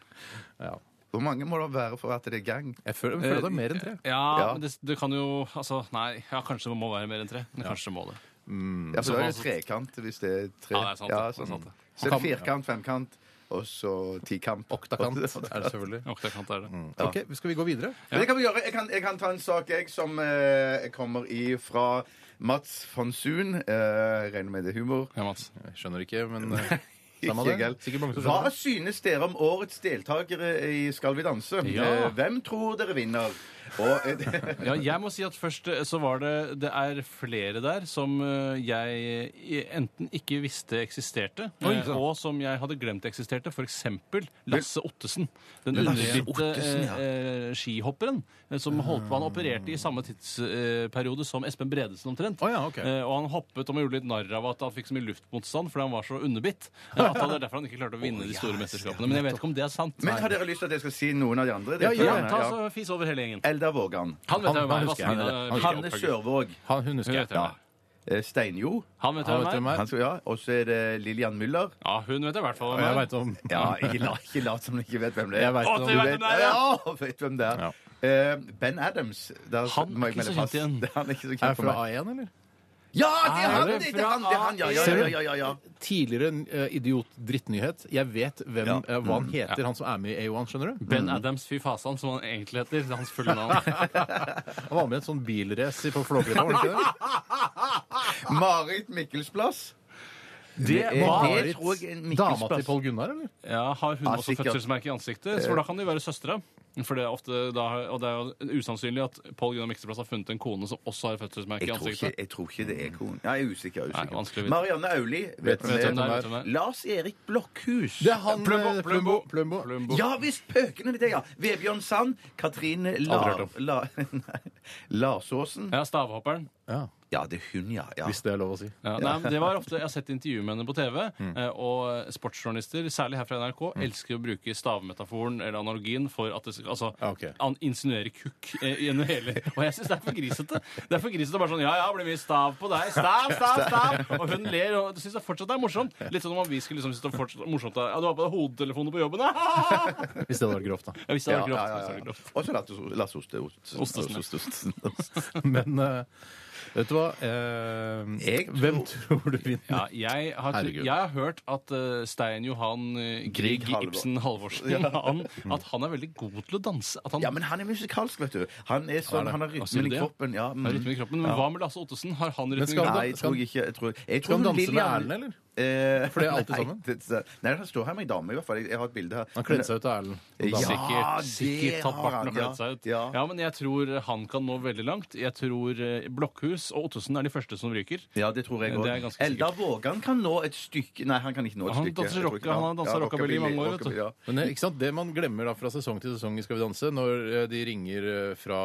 Speaker 9: Hvor mange må det være for at det er gang?
Speaker 8: Mm.
Speaker 7: Jeg føler, jeg føler det er mer enn tre.
Speaker 8: Ja,
Speaker 9: Ja.
Speaker 8: men det, du kan jo Altså, nei, ja, kanskje det må være mer enn tre. Men kanskje det må det.
Speaker 9: Ja, for da er det trekant hvis det er tre.
Speaker 8: Sånn. Ja, det er sant, det.
Speaker 9: sånn.
Speaker 8: Det er sant, det.
Speaker 9: Så er det
Speaker 8: Kam-
Speaker 9: firkant, femkant, og så tikamp.
Speaker 7: *laughs* Oktakant er det selvfølgelig.
Speaker 8: Oktakant er det.
Speaker 9: Ja.
Speaker 7: Ok, Skal vi gå videre?
Speaker 9: Men det kan vi gjøre. Jeg kan, jeg kan ta en sak jeg som eh, kommer ifra Mats von Suhn. Eh, regner med det er humor.
Speaker 8: Ja, Mats.
Speaker 7: *laughs* Jeg skjønner ikke, men eh,
Speaker 9: Samme det.
Speaker 7: Sikkert mange som
Speaker 9: Hva
Speaker 7: skjønner.
Speaker 9: synes dere om årets deltakere i Skal vi danse?
Speaker 8: Ja.
Speaker 9: Eh, Hvem tror dere vinner? Og, eh,
Speaker 8: Ja, jeg må si at først eh, så var det Det er flere der som eh, jeg i- enten ikke visste eksisterte, eh,
Speaker 29: Oi, sant.
Speaker 8: og som jeg hadde glemt eksisterte, f.eks. Lasse Ottesen. Den
Speaker 29: Lasse
Speaker 8: underbitte
Speaker 29: Ottesen, ja.
Speaker 8: eh, eh, skihopperen eh, som holdt på Han opererte i samme tidsperiode som Espen Bredesen omtrent. Eh, Og han hoppet og man gjorde litt narr av at han fikk så mye luftmotstand fordi han var så underbitt. eh, At det er derfor han ikke klarte å vinne de store mesterskapene. Men jeg vet ikke om det er sant.
Speaker 9: *laughs* Men har dere lyst til at jeg skal si noen av de andre?
Speaker 8: Ja, ja,
Speaker 9: deltakerne?
Speaker 8: ta så fis over hele gjengen.
Speaker 9: Eldar Vågan.
Speaker 8: Han vet jeg hvem er.
Speaker 9: husker
Speaker 8: Vazelina-
Speaker 9: jeg.
Speaker 8: Virke
Speaker 9: Hanne
Speaker 8: Opphaug.
Speaker 9: Sørvåg.
Speaker 32: Han hun
Speaker 8: husker jeg. Hun vet jeg
Speaker 9: Ja. Eh, Steinjo.
Speaker 8: Han vet jeg hvem er.
Speaker 9: Han skal- Ja. Og så er det Lillian Müller.
Speaker 8: Ja, hun vet jeg i hvert fall
Speaker 9: hvem er. Ja, ikke la- ikke lat som du ikke vet hvem det er.
Speaker 8: Jeg vet Å, hvem du det er. vet hvem det er, ja.
Speaker 9: ja! vet hvem det er. Eh, ben Adams. Der må jeg
Speaker 8: ikke
Speaker 9: melde
Speaker 8: så
Speaker 9: pass. *laughs*
Speaker 8: kjent
Speaker 9: Han er ikke så kjent
Speaker 7: Er
Speaker 9: for
Speaker 7: fra
Speaker 9: meg.
Speaker 7: A1, eller?
Speaker 9: Ja, det er
Speaker 7: Er
Speaker 9: han!
Speaker 7: det
Speaker 9: Det er han, det er han, ja, ja,
Speaker 7: Ser du?
Speaker 9: ja, ja, ja, ja.
Speaker 7: Tidligere eh, idiot-drittnyhet. Jeg vet hvem,
Speaker 8: Ja.
Speaker 7: eh, hva han
Speaker 8: Mm.
Speaker 7: heter,
Speaker 8: Ja.
Speaker 7: han som er med i A1, skjønner du?
Speaker 8: Ben
Speaker 7: Mm.
Speaker 8: Adams, fy fasan, som han egentlig heter. Det er hans *laughs* fulle navn.
Speaker 7: Han var med i et sånn bilrace på Flåklypa, var det ikke det? *laughs*
Speaker 9: Marit Mikkelsplass.
Speaker 8: Det
Speaker 9: er-
Speaker 8: var-
Speaker 9: det tror jeg er en Mikkelsplass.
Speaker 7: Dama til Pål Gunnar, eller?
Speaker 8: Ja, Har hun
Speaker 7: Ja,
Speaker 8: også
Speaker 7: sikkert.
Speaker 8: fødselsmerke i ansiktet? For da kan de være søstre. For det er ofte da, Og det er jo usannsynlig at Pål Gunnar Mikseplass har funnet en kone som også har fødselsmerke i
Speaker 9: Jeg tror, ikke,
Speaker 8: ansiktet.
Speaker 9: jeg tror ikke det er konen. Ja, Jeg er usikker. Jeg er
Speaker 8: vanskelig å
Speaker 9: usikker.
Speaker 8: vite.
Speaker 9: Marianne Aulie.
Speaker 8: Vet
Speaker 9: Vet du hvem det
Speaker 8: vet hvem det
Speaker 9: er?
Speaker 8: er.
Speaker 9: Lars Erik Blokkhus.
Speaker 7: Det er han, Plumbo, eh, Plumbo,
Speaker 9: Ja visst! Pøkene det, ja. Vebjørn Sand. Katrine
Speaker 7: Aldri hørt
Speaker 9: Lar...
Speaker 7: om.
Speaker 9: La, *laughs* nei, Larsåsen.
Speaker 8: Ja, Stavhopperen.
Speaker 7: Ja.
Speaker 9: det er hun, ja. ja. Mm.
Speaker 7: Hvis det er lov å si.
Speaker 8: Ja, nei, men det var ofte, Jeg har sett intervju med henne på TV, eh, og sportsjournalister, særlig her fra NRK, elsker å bruke stavmetaforen eller analogien for at det skal altså,
Speaker 9: Ah,
Speaker 8: an, insinuere kukk eh, gjennom hele *laughs* Og jeg syns det er for grisete. Det er for grisete bare sånn Ja, ja, blir mye stav på deg. Stav,
Speaker 9: *laughs*
Speaker 8: stav, stav! Og hun ler, og syns det fortsatt er morsomt. Litt sånn om vi skulle liksom synes det var fortsatt morsomt da. Ja, du har på deg hodetelefoner på jobben, *laughs*
Speaker 7: Hvis det hadde vært grovt, da.
Speaker 8: Ja, hvis det hadde vært
Speaker 9: Ja,
Speaker 8: grovt. hvis det
Speaker 9: ja,
Speaker 8: hadde vært
Speaker 9: ja, ja. Og så Lasse- Lasse Oste- Oste-
Speaker 8: Ostesen, ja.
Speaker 9: Oste- Oste-
Speaker 7: *laughs* Men eh, vet du hva? Eh, Hvem tror du vinner?
Speaker 8: Ja, jeg, har,
Speaker 7: Herregud.
Speaker 8: jeg har hørt at eh, Stein Johan eh, Grieg
Speaker 9: Grieg Halvor-
Speaker 8: Ibsen Halvorsen
Speaker 9: *laughs* Ja.
Speaker 8: han, At han er veldig god til å danse. At han,
Speaker 9: Ja, men han er musikalsk, vet du. Han er sånn, han har
Speaker 8: Ja, sier du
Speaker 9: rytmen i
Speaker 8: det?
Speaker 9: kroppen. Ja, mm.
Speaker 8: Har rytmen i kroppen. Men
Speaker 9: Ja.
Speaker 8: hva med Lasse Ottesen? Har han rytmen i
Speaker 9: skal
Speaker 8: kroppen?
Speaker 9: han, nei, jeg tror jeg ikke jeg tror,
Speaker 7: Skal
Speaker 9: jeg tror
Speaker 7: han danse med
Speaker 9: Lillian-
Speaker 7: Erlend, eller?
Speaker 9: Eh,
Speaker 7: For det er alltid
Speaker 9: *laughs* nei,
Speaker 7: sammen.
Speaker 9: det- Nei, han står her med ei dame, i hvert fall. Jeg, jeg har et bilde her.
Speaker 7: Han kledde seg ut av Erlend.
Speaker 9: Ja,
Speaker 8: sikkert,
Speaker 9: Ah, det
Speaker 8: sikkert tatt
Speaker 9: har
Speaker 8: barten
Speaker 9: han,
Speaker 8: og kledd seg ut. Ja. men jeg tror han kan nå veldig langt. Jeg tror eh, Blokkhus og Ottesen er de første som ryker.
Speaker 9: Ja, det tror jeg
Speaker 8: Eh, det er
Speaker 9: òg.
Speaker 8: ganske
Speaker 9: Eldar Vågan kan nå et stykke Nei, han kan ikke nå et
Speaker 8: Han
Speaker 9: stykke.
Speaker 8: danser
Speaker 9: Jeg tror ikke-
Speaker 8: rocka- han har danset
Speaker 9: ja,
Speaker 8: rockabilly i mange år, vet du.
Speaker 9: rockabilly, ja.
Speaker 7: Men eh, ikke sant, Det man glemmer da fra sesong til sesong i Skal vi danse, når eh, de ringer eh, fra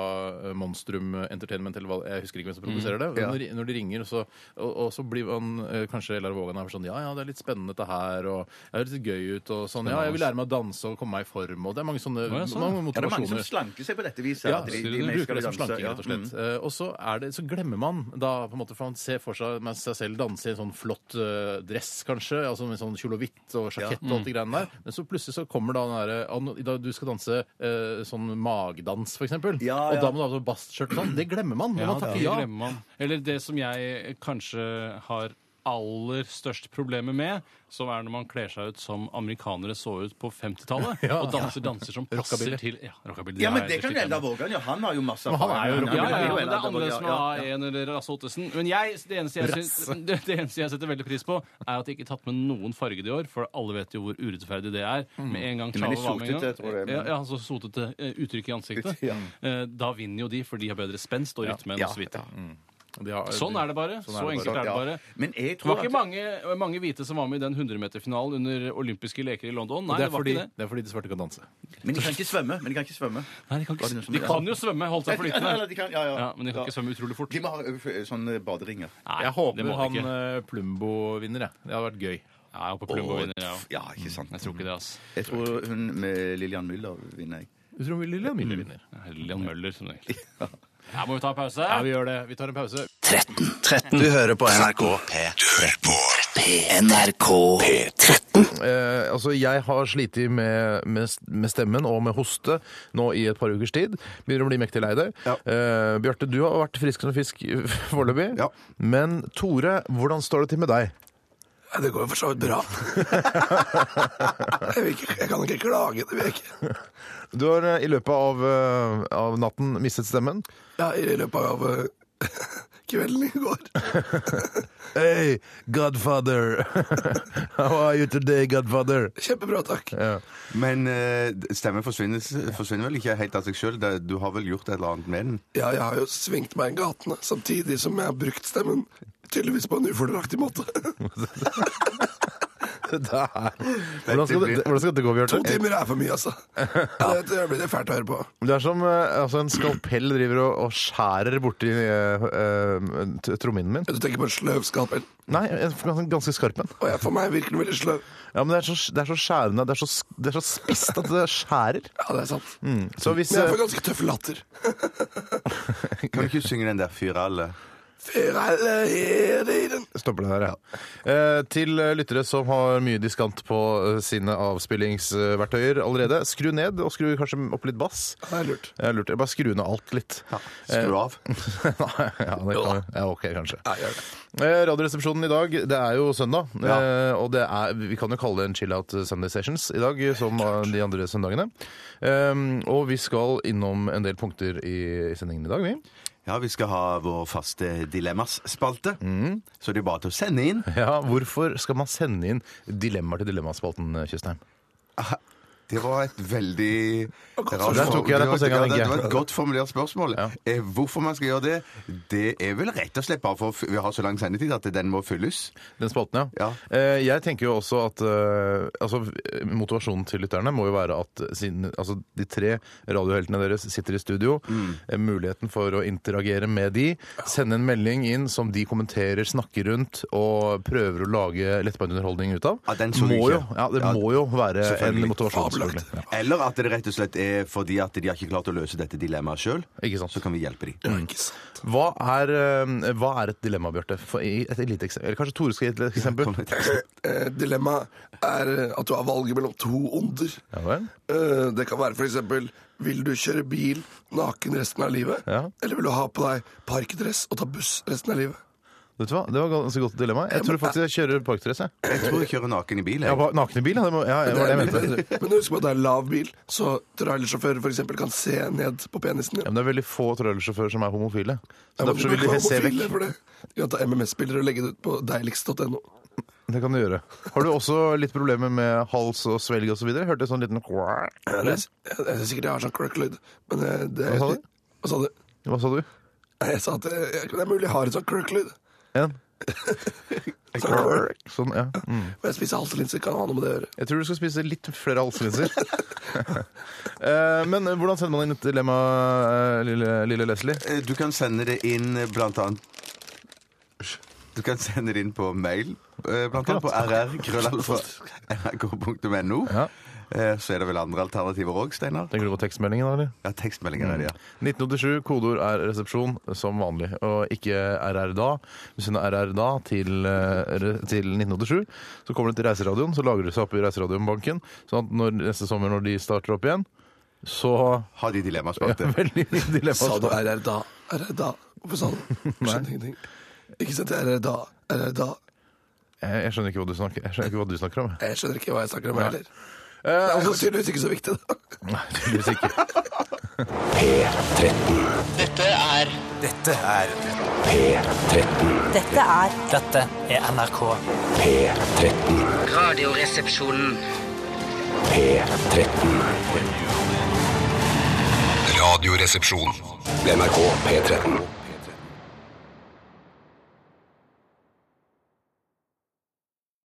Speaker 7: eh, Monstrum Entertainment eller hva, Jeg husker ikke hvem som produserer det.
Speaker 9: Mm.
Speaker 7: men
Speaker 9: Ja.
Speaker 7: Når, de- når de ringer, så, og, og så blir man eh, kanskje Ellar Vågan er sånn Ja, ja, det er litt spennende dette her, og det høres litt gøy ut, og sånn Ja, jeg vil lære meg å danse og komme meg i form, og det er mange sånne
Speaker 9: Ja, sånn.
Speaker 7: mange
Speaker 9: Ja, det er mange som
Speaker 7: motivasjoner.
Speaker 9: slanker seg på dette viset.
Speaker 7: Ja,
Speaker 9: at
Speaker 7: de,
Speaker 9: de, de,
Speaker 7: bruker det som
Speaker 9: danse,
Speaker 7: slanking,
Speaker 9: ja.
Speaker 7: rett og slett.
Speaker 9: Mm.
Speaker 7: Eh, og så, er det, så glemmer man da, på en måte, for man ser for seg med seg selv danse i en sånn flott eh, dress, kanskje, altså med sånn kjole og hvitt og sjakett
Speaker 9: Ja.
Speaker 7: og
Speaker 8: Mm.
Speaker 7: alt det greiene der, men så plutselig så kommer da den derre ah, nå- da du skal danse eh, sånn magdans, for eksempel,
Speaker 8: ja.
Speaker 7: og da må du ha sånn bastskjørt og sånn, det glemmer man når
Speaker 8: Ja,
Speaker 7: man
Speaker 8: det
Speaker 7: takker ja.
Speaker 8: glemmer man. Eller det som jeg kanskje har aller størst problemer med, som er når man kler seg ut som amerikanere så ut på 50-tallet, *laughs*
Speaker 9: Ja.
Speaker 8: og danser danser som passer
Speaker 9: Rockabilly.
Speaker 8: til Ja, *laughs* rockabilly.
Speaker 9: Ja,
Speaker 8: det
Speaker 9: men
Speaker 8: har
Speaker 9: det
Speaker 8: jeg
Speaker 9: kan jo
Speaker 8: slitt med.
Speaker 9: Eldar Vågan gjøre. Han har jo masse
Speaker 8: Men han er jo
Speaker 9: erfaring.
Speaker 8: rockabilly. Ja, ja, men det
Speaker 9: Eldar
Speaker 8: er
Speaker 9: Vågan,
Speaker 8: annerledes med E
Speaker 9: ja, ja.
Speaker 8: A1 eller Lasse Ottesen. Men jeg, det, eneste jeg syns, *laughs* det, det eneste jeg setter veldig pris på, er at jeg ikke har tatt med noen fargede i år, for alle vet jo hvor urettferdig det er.
Speaker 9: Mm.
Speaker 8: Med en gang
Speaker 9: Du mener
Speaker 8: Chavo var med en gang.
Speaker 9: sotete, tror jeg, men-
Speaker 8: Ja, ja, altså sotete eh, uttrykk i ansiktet.
Speaker 9: *laughs* Ja.
Speaker 8: Eh, Da vinner jo de, for de har bedre spenst og
Speaker 9: Ja.
Speaker 8: rytme enn
Speaker 9: Ja,
Speaker 8: oss hvite.
Speaker 7: De har-
Speaker 8: Sånn er det bare.
Speaker 7: Sånn
Speaker 8: så
Speaker 7: er det bare.
Speaker 8: enkelt er det bare.
Speaker 7: Ja. Men jeg
Speaker 8: det
Speaker 7: tror
Speaker 8: var
Speaker 7: at-
Speaker 8: ikke mange, mange hvite som var med i den 100-meterfinalen under olympiske leker i London. Nei,
Speaker 7: det,
Speaker 8: det,
Speaker 7: er
Speaker 8: var
Speaker 7: fordi,
Speaker 8: ikke det.
Speaker 7: det er fordi de svarte kan danse.
Speaker 9: Men de kan ikke svømme. Men de kan ikke svømme.
Speaker 8: Nei, de kan,
Speaker 9: ikke,
Speaker 8: De kan jo svømme, holdt *laughs* seg flytende.
Speaker 9: Ja, de kan, ja, ja.
Speaker 8: men de kan
Speaker 9: Ja.
Speaker 8: ikke svømme utrolig fort.
Speaker 9: De må ha ø, f- sånne baderinger.
Speaker 7: Jeg håper han eh, Plumbo vinner, jeg. Det hadde vært gøy.
Speaker 8: Ja, jeg håper
Speaker 9: Plumbo Åh, vinner, jeg også. ja, ikke sant.
Speaker 8: Jeg tror ikke det, ass.
Speaker 9: Jeg tror hun med Lillian Müller vinner. *laughs* jeg.
Speaker 7: Du tror Lillian Müller vinner?
Speaker 8: Lillian Møller, som det heter. Her må vi ta en pause.
Speaker 7: Ja, vi gjør det. Vi tar en pause.
Speaker 33: 13. 13. Du hører på NRK P13. Du hører på NRK P13.
Speaker 34: Eh, altså, jeg har slitt med, med, med stemmen og med hoste nå i et par ukers tid. Begynner å bli mektig lei deg. Eh, Bjarte, du har vært frisk som fisk *laughs* foreløpig. Men Tore, hvordan står det til med deg?
Speaker 1: Ja, Det går jo for så vidt bra. jeg, vil ikke, jeg kan ikke klage, det vil jeg ikke.
Speaker 34: *laughs* Du har eh, i løpet av, eh, av natten mistet stemmen.
Speaker 1: Ja, I løpet av eh,
Speaker 24: *laughs* kvelden i går.
Speaker 7: Hey,
Speaker 34: *laughs*
Speaker 7: Godfather! How are you today, Godfather?
Speaker 24: Kjempebra, takk.
Speaker 9: Men eh, stemmen forsvinner, forsvinner vel ikke helt av seg sjøl? Du har vel gjort et eller annet med den?
Speaker 24: Ja, jeg har jo svingt meg i gatene, samtidig som jeg har brukt stemmen. Tydeligvis på en ufordelaktig måte.
Speaker 7: Hvordan skal, det, hvordan skal dette gå, Bjarte?
Speaker 24: To timer er for mye,
Speaker 8: *laughs*
Speaker 24: altså.
Speaker 34: *laughs*
Speaker 24: Ja, det blir det fælt å høre på.
Speaker 7: Det er som eh, altså en skalpell driver og, og skjærer borti eh, eh, t- trommehinnen min.
Speaker 24: Du tenker på en sløv skalpell?
Speaker 7: Nei, en ganske, ganske skarp en.
Speaker 24: Å, ja, for meg virker den veldig sløv.
Speaker 7: Ja, men det er så, det er så skjærende. Det er så, sk- det er så spisst at det skjærer.
Speaker 24: Ja, det er sant.
Speaker 7: Mm. Så hvis
Speaker 24: Men jeg
Speaker 7: eh,
Speaker 24: får ganske tøff latter.
Speaker 9: Kan du ikke synge den der fyralle?
Speaker 24: Før alle her i den
Speaker 7: Stopper det der, ja. Eh, til eh, lyttere som har mye diskant på eh, sine avspillingsverktøyer allerede, skru ned, og skru kanskje opp litt bass.
Speaker 24: Det er lurt.
Speaker 7: Jeg lurte, bare skru ned alt litt.
Speaker 9: skru
Speaker 7: Eh,
Speaker 9: av.
Speaker 7: *laughs* Nei, ja, det kan jeg. Ja, ok, kanskje.
Speaker 24: Ja, gjør det.
Speaker 7: Eh, Radioresepsjonen i dag, det er jo søndag,
Speaker 9: Ja.
Speaker 7: eh, og det er, vi kan jo kalle det en chill-out Sunday Sessions i dag, som eh, de andre søndagene. Um, og vi skal innom en del punkter i, i sendingen i dag, vi.
Speaker 9: Ja, vi skal ha vår faste dilemmas-spalte. Så det er bare til å sende inn.
Speaker 7: Ja, Hvorfor skal man sende inn dilemmaer til Dilemmaspalten, eh, Tjøstheim?
Speaker 9: Det var et veldig
Speaker 7: så der tok jeg deg på
Speaker 9: Det
Speaker 7: senga,
Speaker 9: var-
Speaker 7: tenker jeg.
Speaker 9: Det var et godt formulert spørsmål. Eh, Hvorfor man skal gjøre det, det er vel rett og slett bare for vi har så lang sendetid at den må fylles.
Speaker 7: Den spalten, ja. Eh, jeg tenker jo også at eh, altså, Motivasjonen til lytterne må jo være at siden, altså, de tre radioheltene deres sitter i studio.
Speaker 9: Mm.
Speaker 7: Eh, muligheten for å interagere med de. Sende en melding inn som de kommenterer, snakker rundt og prøver å lage lettbeint underholdning ut av.
Speaker 9: Ja, den så vi
Speaker 7: må
Speaker 9: ikke.
Speaker 7: jo, ja, det
Speaker 9: Ja,
Speaker 7: må jo være en
Speaker 9: selvfølgelig.
Speaker 7: motivasjon. selvfølgelig. Ja.
Speaker 9: Eller at det rett og slett er fordi at de har ikke klart å løse dette dilemmaet sjøl. Så kan vi hjelpe dem.
Speaker 7: Hva er, eh, hva er et dilemma, Bjarte? For- i- Et lite eksempel. Eller kanskje Tore skal gi et eksempel?
Speaker 24: Eh, Dilemmaet er eh, at du har valget mellom to onder. Eh, Det kan være f.eks.: Vil du kjøre bil naken resten av livet? Eller vil du ha på deg parkdress og ta buss resten av livet?
Speaker 7: Vet du hva? Det var et ganske godt dilemma. Jeg tror faktisk jeg kjører parkdress. Jeg
Speaker 9: Jeg tror jeg kjører naken i bil.
Speaker 7: Ja, hva- naken i bil, ja, det, må, ja, det var det jeg mente.
Speaker 24: Men husk på at det er lav bil, så trailersjåfører f.eks. kan se ned på penisen
Speaker 7: Ja, men
Speaker 24: din.
Speaker 7: det er veldig få trailersjåfører som er homofile. Så
Speaker 24: Ja, men
Speaker 7: derfor
Speaker 24: du
Speaker 7: vil de
Speaker 24: kan
Speaker 7: helst se
Speaker 24: homofile *laughs*
Speaker 7: vekk.
Speaker 24: for det. Du kan ta MMS-bilder og legge det ut på deiligst.no.
Speaker 7: Det kan du gjøre. Har du også litt problemer med hals og svelg osv.? Hørte sånn liten
Speaker 24: Jeg, jeg, jeg synes sikkert jeg har sånn kløkk-lyd, men eh, det
Speaker 7: Hva sa du? Hva
Speaker 24: Hva sa du?
Speaker 7: sa du?
Speaker 24: Nei, Jeg sa at det, det er mulig jeg har en sånn kløkk-lyd.
Speaker 7: En.
Speaker 24: Sånn kløkk.
Speaker 7: Sånn, ja. Mm.
Speaker 24: Men jeg spiser halslinser, kan ha noe med det å gjøre.
Speaker 7: Jeg tror du skal spise litt flere halslinser. *laughs* Eh, Men hvordan sender man inn et dilemma, eh, lille, lille Leslie?
Speaker 9: Eh, Du kan sende det inn eh, blant annet Du kan sende det inn på mail, eh, blant annet på rr.krøllalfa.nrk.no. Eh, Så er det vel andre alternativer òg, Steinar?
Speaker 7: Tenker du på tekstmeldingen, da, eller?
Speaker 9: Ja, tekstmeldinger er det, ja.
Speaker 7: 1987, kodeord er resepsjon som vanlig, og ikke RR da. Hvis hun er RR da til, eh, re- til 1987, så kommer det til Reiseradioen, så lager det seg opp i Reiseradioen-banken, sånn at når, neste sommer når de starter opp igjen, så *laughs*
Speaker 9: Har de dilemmaspalte.
Speaker 7: Ja, veldig mye
Speaker 24: Sa du
Speaker 7: dilemmaspalte.
Speaker 24: RR da? RR da? Hvorfor sa du det? Jeg Skjønner ingenting. Ikke sett RR da? RR da?
Speaker 7: Jeg, jeg, skjønner ikke hva du snakker, jeg skjønner ikke hva du snakker om.
Speaker 24: Jeg skjønner ikke hva jeg snakker om
Speaker 7: Nei. Eh, altså,
Speaker 24: heller. Det er jo tydeligvis ikke så viktig, da.
Speaker 7: Nei, tydeligvis ikke.
Speaker 2: Dette er Dette er
Speaker 35: P13.
Speaker 2: Dette er
Speaker 35: Dette er NRK. P13.
Speaker 2: Radioresepsjonen.
Speaker 35: P13.
Speaker 1: Radioresepsjon. NRK P13.